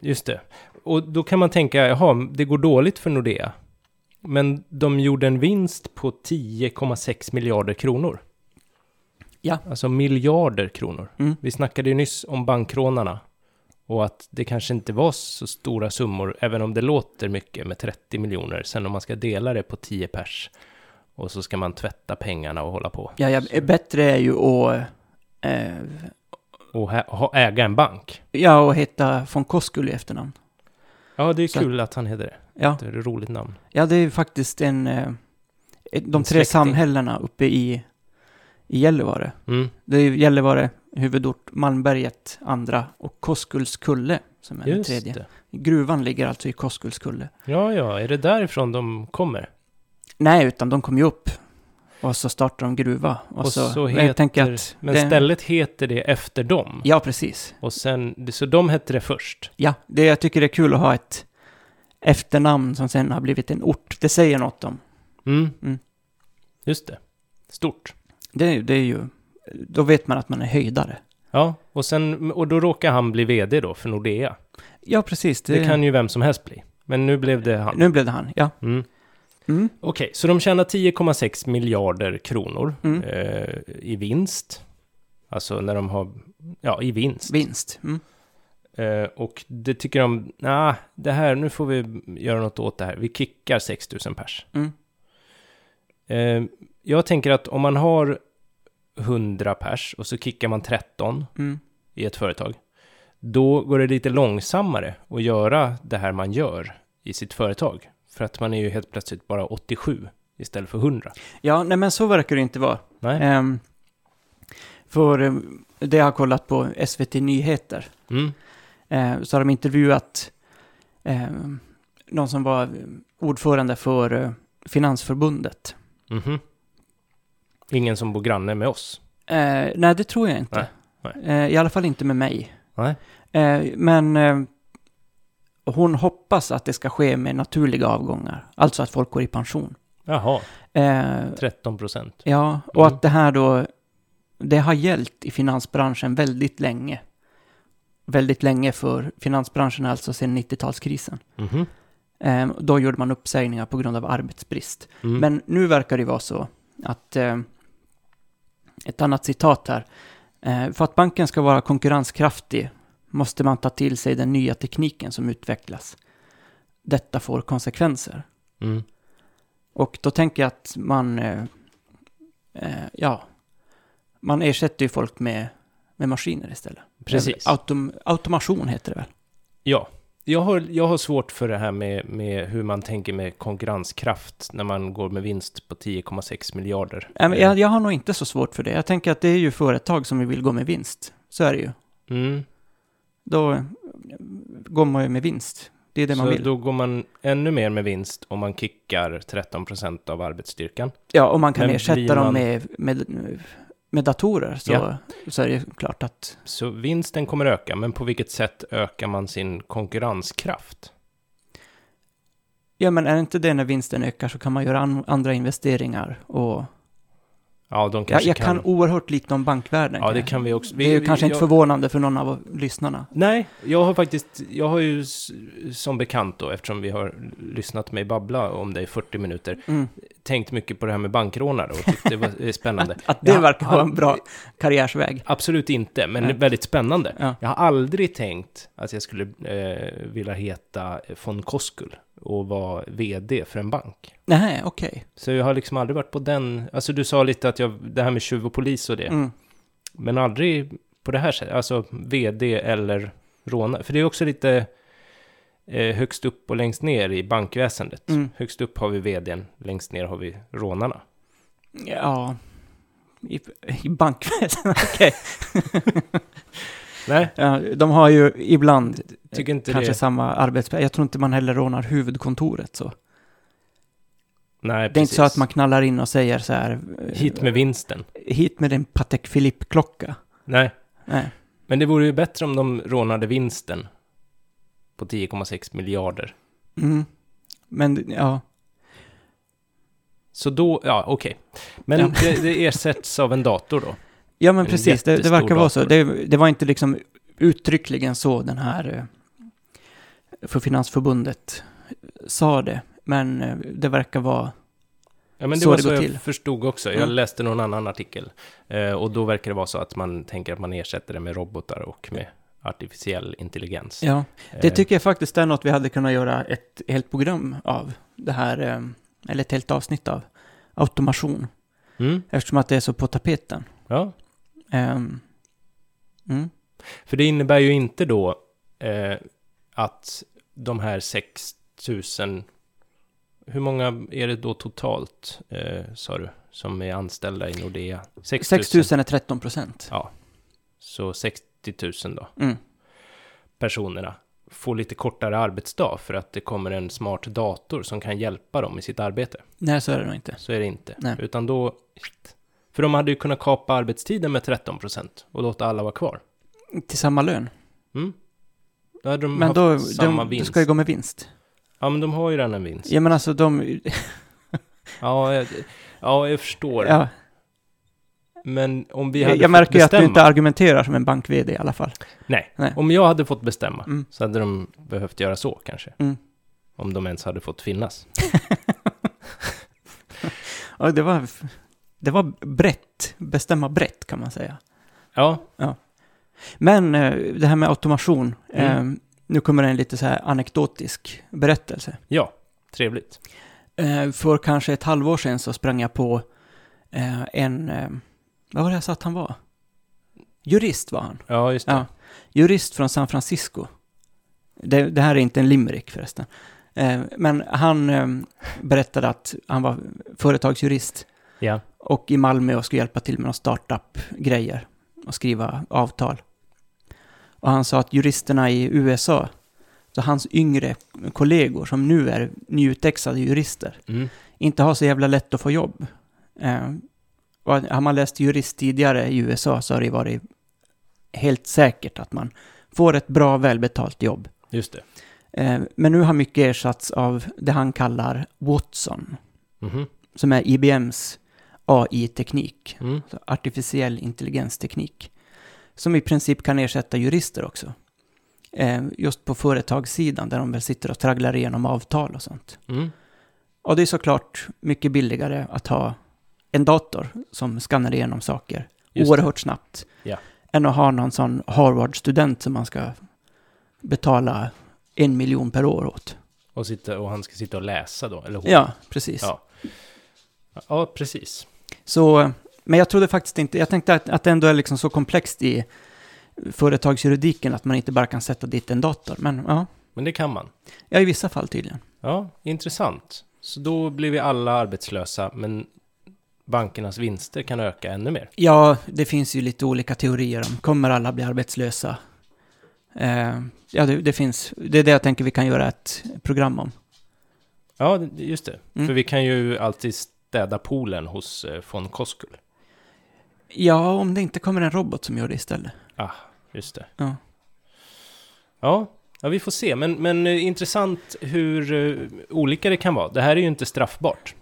Speaker 2: Just det. Och då kan man tänka, jaha, det går dåligt för Nordea. Men de gjorde en vinst på 10,6 miljarder kronor.
Speaker 1: Ja.
Speaker 2: Alltså miljarder kronor.
Speaker 1: Mm.
Speaker 2: Vi snackade ju nyss om bankrånarna. Och att det kanske inte var så stora summor, även om det låter mycket med 30 miljoner. Sen om man ska dela det på 10 pers. Och så ska man tvätta pengarna och hålla på.
Speaker 1: Ja, ja, bättre är ju att... Eh,
Speaker 2: Och hä- ha- äga en bank.
Speaker 1: ja, och heta von Koskull i efternamn.
Speaker 2: Ja, det är
Speaker 1: Så-
Speaker 2: kul att han heter det.
Speaker 1: Ja,
Speaker 2: Det är ett roligt namn.
Speaker 1: ja det är ju faktiskt en... Eh, ett- de
Speaker 2: En
Speaker 1: tre
Speaker 2: släkting.
Speaker 1: samhällena uppe i, i Gällivare.
Speaker 2: Mm.
Speaker 1: Det är ju Gällivare, huvudort, Malmberget, andra och Koskullskulle som är den
Speaker 2: Just
Speaker 1: tredje.
Speaker 2: det.
Speaker 1: Gruvan ligger alltså i Koskullskulle.
Speaker 2: Ja, ja, är det därifrån de kommer?
Speaker 1: Nej, utan de kom ju upp och så startade de gruva. Och,
Speaker 2: Och
Speaker 1: så,
Speaker 2: så
Speaker 1: men
Speaker 2: heter-
Speaker 1: jag tänker att...
Speaker 2: Men
Speaker 1: det-
Speaker 2: stället heter det efter dem.
Speaker 1: Ja, precis.
Speaker 2: Och sen, så de hette det först.
Speaker 1: Ja, det jag tycker det är kul att ha ett efternamn som sen har blivit en ort. Det säger något om.
Speaker 2: Mm.
Speaker 1: Mm.
Speaker 2: Just det. Stort.
Speaker 1: Det, är- det är ju... Då vet man att man är höjdare.
Speaker 2: Ja, och, sen, och då råkar han bli vd då för Nordea.
Speaker 1: Ja, precis.
Speaker 2: Det, kan ju vem som helst bli. Men nu blev det han.
Speaker 1: Nu blev det han, ja.
Speaker 2: Mm.
Speaker 1: Mm.
Speaker 2: Okej, så de tjänar 10,6 miljarder kronor
Speaker 1: Mm.
Speaker 2: eh, i vinst. Alltså när de har, ja i vinst.
Speaker 1: Vinst. Mm.
Speaker 2: Eh, och det tycker de, nej, det här, nu får vi göra något åt det här. Vi kickar 6 000 pers.
Speaker 1: Mm.
Speaker 2: Eh, jag tänker att om man har 100 pers och så kickar man 13
Speaker 1: Mm.
Speaker 2: i ett företag, då går det lite långsammare att göra det här man gör i sitt företag. För att man är ju helt plötsligt bara 87 istället för 100.
Speaker 1: Ja, nej men så verkar det inte vara.
Speaker 2: Nej?
Speaker 1: Ehm, för eh, det jag har kollat på SVT Nyheter,
Speaker 2: Mm.
Speaker 1: eh, så har de intervjuat eh, någon som var eh, ordförande för eh, Finansförbundet.
Speaker 2: Mhm. Ingen som bor granne med oss.
Speaker 1: Eh, nej, det tror jag inte.
Speaker 2: Nej,
Speaker 1: Eh, I alla fall inte med mig.
Speaker 2: Nej.
Speaker 1: Eh, men eh, hon hoppas att det ska ske med naturliga avgångar, alltså att folk går i pension.
Speaker 2: Jaha,
Speaker 1: Eh,
Speaker 2: 13 procent.
Speaker 1: Ja, och
Speaker 2: Mm.
Speaker 1: att det här då, det har gällt i finansbranschen väldigt länge. Väldigt länge för finansbranschen, alltså sedan 90-talskrisen.
Speaker 2: Mhm.
Speaker 1: Ehm, då gjorde man uppsägningar på grund av arbetsbrist.
Speaker 2: Mm.
Speaker 1: Men nu verkar det vara så att, ehm, ett annat citat här. Eh, för att banken ska vara konkurrenskraftig måste man ta till sig den nya tekniken som utvecklas. Detta får konsekvenser.
Speaker 2: Mm.
Speaker 1: Och då tänker jag att man, eh, eh, ja, man ersätter ju folk med, med maskiner istället.
Speaker 2: Precis.
Speaker 1: Autom, automation heter det väl?
Speaker 2: Ja, jag har, jag har svårt för det här med, med hur man tänker med konkurrenskraft när man går med vinst på 10,6 miljarder.
Speaker 1: Ja, men Jag, jag har nog inte så svårt för det. Jag tänker att det är ju företag som vill gå med vinst. Så är det ju.
Speaker 2: Mm.
Speaker 1: Då eh, går man ju med vinst. Det är det man
Speaker 2: Så
Speaker 1: vill.
Speaker 2: då går man ännu mer med vinst om man kickar 13% av arbetsstyrkan.
Speaker 1: ja, och man kan
Speaker 2: Men blir
Speaker 1: ersätta
Speaker 2: man-
Speaker 1: dem med, med, med datorer. Så,
Speaker 2: Ja.
Speaker 1: så är det ju klart att...
Speaker 2: Så vinsten kommer öka, men på vilket sätt ökar man sin konkurrenskraft?
Speaker 1: Ja, men är det inte det när vinsten ökar så kan man göra an, andra investeringar och...
Speaker 2: Ja, de
Speaker 1: Jag,
Speaker 2: kanske
Speaker 1: jag kan
Speaker 2: kan...
Speaker 1: oerhört lite om bankvärlden.
Speaker 2: Ja,
Speaker 1: kan
Speaker 2: det
Speaker 1: jag.
Speaker 2: kan vi också. Vi,
Speaker 1: det är ju kanske
Speaker 2: jag,
Speaker 1: inte förvånande för någon av lyssnarna.
Speaker 2: Nej, jag har faktiskt, jag har ju s- som bekant då, eftersom vi har lyssnat mig babbla om det i 40 minuter,
Speaker 1: Mm.
Speaker 2: tänkt mycket på det här med bankrånare och tyckte det var eh, spännande.
Speaker 1: Att det
Speaker 2: Ja,
Speaker 1: verkar vara en
Speaker 2: ja.
Speaker 1: bra karriärsväg.
Speaker 2: Absolut inte, men
Speaker 1: Nej.
Speaker 2: väldigt spännande.
Speaker 1: Ja.
Speaker 2: Jag har aldrig tänkt att jag skulle eh, vilja heta eh, von Koskull och vara vd för en bank.
Speaker 1: Nej, okej.
Speaker 2: Så jag har liksom aldrig varit på den, alltså du sa lite att jag, det här med tjuv och polis och det,
Speaker 1: Mm.
Speaker 2: men aldrig på det här sättet, alltså vd eller rånare. För det är också lite eh, högst upp och längst ner i bankväsendet.
Speaker 1: Mm.
Speaker 2: Högst upp har vi vdn, längst ner har vi rånarna.
Speaker 1: Ja. I, i bankväsendet, okej.
Speaker 2: Nej,
Speaker 1: Ja, de har ju ibland
Speaker 2: tycker inte
Speaker 1: kanske
Speaker 2: det.
Speaker 1: samma arbetsplats. Jag tror inte man heller rånar huvudkontoret så.
Speaker 2: Nej,
Speaker 1: Det är inte så att
Speaker 2: precis.
Speaker 1: man knallar in och säger så här. eh,
Speaker 2: Hit med vinsten.
Speaker 1: hit med din Patek Philippe-klocka.
Speaker 2: Nej.
Speaker 1: Nej.
Speaker 2: Men det vore ju bättre om de rånade vinsten på 10,6 miljarder.
Speaker 1: Mm. Men ja,
Speaker 2: Så då, ja okej. Men
Speaker 1: Ja.
Speaker 2: Det, det ersätts av en dator då?
Speaker 1: Ja, men
Speaker 2: En
Speaker 1: precis. Det, det
Speaker 2: jättestor
Speaker 1: verkar vara så.
Speaker 2: dator.
Speaker 1: Det, det var inte liksom uttryckligen så den här eh, för Finansförbundet sa det. Men eh, det verkar vara...
Speaker 2: Ja, men det
Speaker 1: Så
Speaker 2: var
Speaker 1: det
Speaker 2: så
Speaker 1: går
Speaker 2: jag
Speaker 1: till.
Speaker 2: förstod också. Jag
Speaker 1: Mm.
Speaker 2: läste någon annan artikel. Eh, och då verkar det vara så att man tänker att man ersätter det med robotar och med artificiell intelligens.
Speaker 1: Ja, det
Speaker 2: Eh,
Speaker 1: tycker jag faktiskt är något vi hade kunnat göra ett helt program av. Det här, eh, eller ett helt avsnitt av. Automation.
Speaker 2: mm,
Speaker 1: Eftersom att det är så på tapeten.
Speaker 2: ja.
Speaker 1: Ehm, mm.
Speaker 2: För det innebär ju inte då eh, att de här 6 000 Hur många är det då totalt, eh, sa du, som är anställda i Nordea? 6 000.
Speaker 1: 6 000 är 13 procent.
Speaker 2: Så 60 000 då,
Speaker 1: Mm.
Speaker 2: personerna får lite kortare arbetsdag för att det kommer en smart dator som kan hjälpa dem i sitt arbete.
Speaker 1: Nej, så är det nog inte.
Speaker 2: Så är det inte.
Speaker 1: Nej.
Speaker 2: Utan då... Shit. För de hade ju kunnat kapa arbetstiden med 13 procent och låta alla vara kvar.
Speaker 1: Till samma lön.
Speaker 2: Mm. Då hade de
Speaker 1: Men
Speaker 2: haft
Speaker 1: då,
Speaker 2: Mm, samma
Speaker 1: de, då
Speaker 2: vinst.
Speaker 1: ska det gå med vinst.
Speaker 2: Ja, men de har ju redan en vinst.
Speaker 1: Ja, men alltså de...
Speaker 2: Ja, jag, ja, jag förstår.
Speaker 1: Ja,
Speaker 2: Men om vi hade
Speaker 1: jag
Speaker 2: fått
Speaker 1: märker ju att
Speaker 2: bestämma.
Speaker 1: du inte argumenterar som en bank-vd i alla fall.
Speaker 2: Nej,
Speaker 1: Nej.
Speaker 2: om jag hade fått bestämma
Speaker 1: Mm.
Speaker 2: så hade de behövt göra så kanske.
Speaker 1: Mm.
Speaker 2: Om de ens hade fått finnas.
Speaker 1: Ja, det var... Det var brett. Bestämma brett, kan man säga.
Speaker 2: Ja,
Speaker 1: Men eh, det här med automation.
Speaker 2: Mm.
Speaker 1: Eh, nu kommer en lite så här anekdotisk berättelse.
Speaker 2: ja, trevligt.
Speaker 1: Eh, för kanske ett halvår sedan så sprang jag på eh, en... Eh, vad var det jag sa att han var? Jurist var han.
Speaker 2: Ja, just det.
Speaker 1: Ja. Jurist från San Francisco. Det, det här är inte en limerick förresten. Eh, men han eh, berättade att han var företagsjurist
Speaker 2: Ja.
Speaker 1: och i Malmö och skulle hjälpa till med några startup-grejer och skriva avtal. Och han sa att juristerna i USA, så hans yngre kollegor som nu är nyutexade jurister,
Speaker 2: Mm.
Speaker 1: inte har så jävla lätt att få jobb. Eh, och har man läst jurist tidigare i USA så har det varit helt säkert att man får ett bra välbetalt jobb.
Speaker 2: Just det.
Speaker 1: Eh, men nu har mycket ersatts av det han kallar Watson,
Speaker 2: Mhm.
Speaker 1: som är IBMs AI-teknik,
Speaker 2: Mm.
Speaker 1: alltså artificiell intelligensteknik, som i princip kan ersätta jurister också. Eh, just på företagssidan där de väl sitter och tragglar igenom avtal och sånt.
Speaker 2: Mm.
Speaker 1: Och det är såklart mycket billigare att ha en dator som skannar igenom saker
Speaker 2: Just det.
Speaker 1: oerhört snabbt.
Speaker 2: Ja.
Speaker 1: Än att ha någon sån Harvard-student som man ska betala en miljon per år åt.
Speaker 2: Och, sitta, och han ska sitta och läsa då, eller hon.
Speaker 1: Ja, precis.
Speaker 2: Ja. Ja, precis.
Speaker 1: Så, men jag trodde faktiskt inte, jag tänkte att, att det ändå är liksom så komplext i företagsjuridiken att man inte bara kan sätta dit en dator. Men ja,
Speaker 2: Men det kan man.
Speaker 1: ja i vissa fall tydligen.
Speaker 2: Ja, intressant. Så då blir vi alla arbetslösa, men bankernas vinster kan öka ännu mer.
Speaker 1: Ja, det finns ju lite olika teorier om kommer alla bli arbetslösa? Eh, ja, det, det finns. Det är det jag tänker vi kan göra ett program om.
Speaker 2: Ja, det- just det.
Speaker 1: Mm.
Speaker 2: För vi kan ju alltid städa poolen hos eh, von Koskul.
Speaker 1: Ja, om det inte kommer en robot som gör det istället.
Speaker 2: Just det.
Speaker 1: Ja.
Speaker 2: Ja, ja vi får se. Men, men eh, intressant hur eh, olika det kan vara. Det här är ju inte straffbart.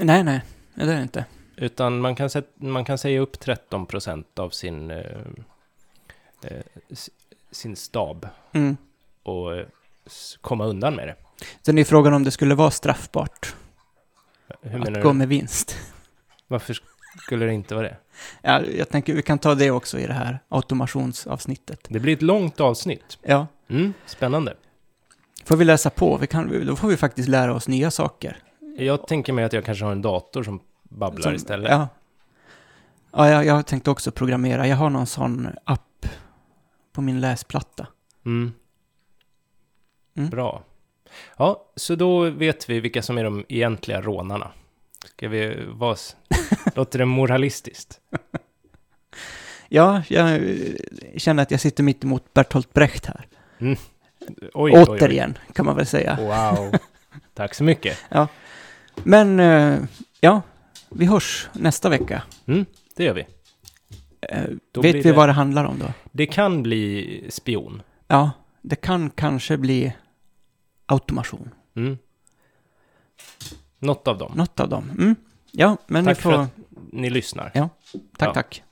Speaker 1: Nej, nej, det är det inte.
Speaker 2: Utan man kan, sätt, man kan säga upp 13% av sin, eh, eh, s- sin stab
Speaker 1: Mm.
Speaker 2: och eh, s- komma undan med det.
Speaker 1: Sen är ju frågan om det skulle vara straffbart
Speaker 2: Hur
Speaker 1: att
Speaker 2: menar
Speaker 1: gå
Speaker 2: du?
Speaker 1: med vinst.
Speaker 2: Varför skulle det inte vara det?
Speaker 1: Ja, jag tänker vi kan ta det också i det här automationsavsnittet.
Speaker 2: Det blir ett långt avsnitt.
Speaker 1: Ja,
Speaker 2: Mm, spännande.
Speaker 1: får vi läsa på. Vi kan, då får vi faktiskt lära oss nya saker.
Speaker 2: Jag tänker mig att jag kanske har en dator som babblar
Speaker 1: Som-
Speaker 2: istället.
Speaker 1: Ja. Ja, jag, jag tänkte också programmera. Jag har någon sån app på min läsplatta.
Speaker 2: Mm.
Speaker 1: Mm.
Speaker 2: Bra. Ja, så då vet vi vilka som är de egentliga rånarna. Ska vi vara... s- Låter det moralistiskt?
Speaker 1: Ja, jag eh, känner att jag sitter mitt emot Bertolt Brecht här.
Speaker 2: Oj,
Speaker 1: Återigen, kan man väl säga.
Speaker 2: Oj, oj. Wow. Tack så mycket.
Speaker 1: Men, eh, ja, vi hörs nästa vecka.
Speaker 2: Det gör vi.
Speaker 1: Eh,
Speaker 2: Då
Speaker 1: Vet vi
Speaker 2: blir det-
Speaker 1: vad det handlar om då?
Speaker 2: Det kan bli spion.
Speaker 1: Ja, det kan kanske bli automation.
Speaker 2: Mm. Något av dem.
Speaker 1: Något av dem. Mm. Ja, men
Speaker 2: Tack
Speaker 1: ni
Speaker 2: för
Speaker 1: får...
Speaker 2: att ni lyssnar.
Speaker 1: Tack,
Speaker 2: Ja.
Speaker 1: tack.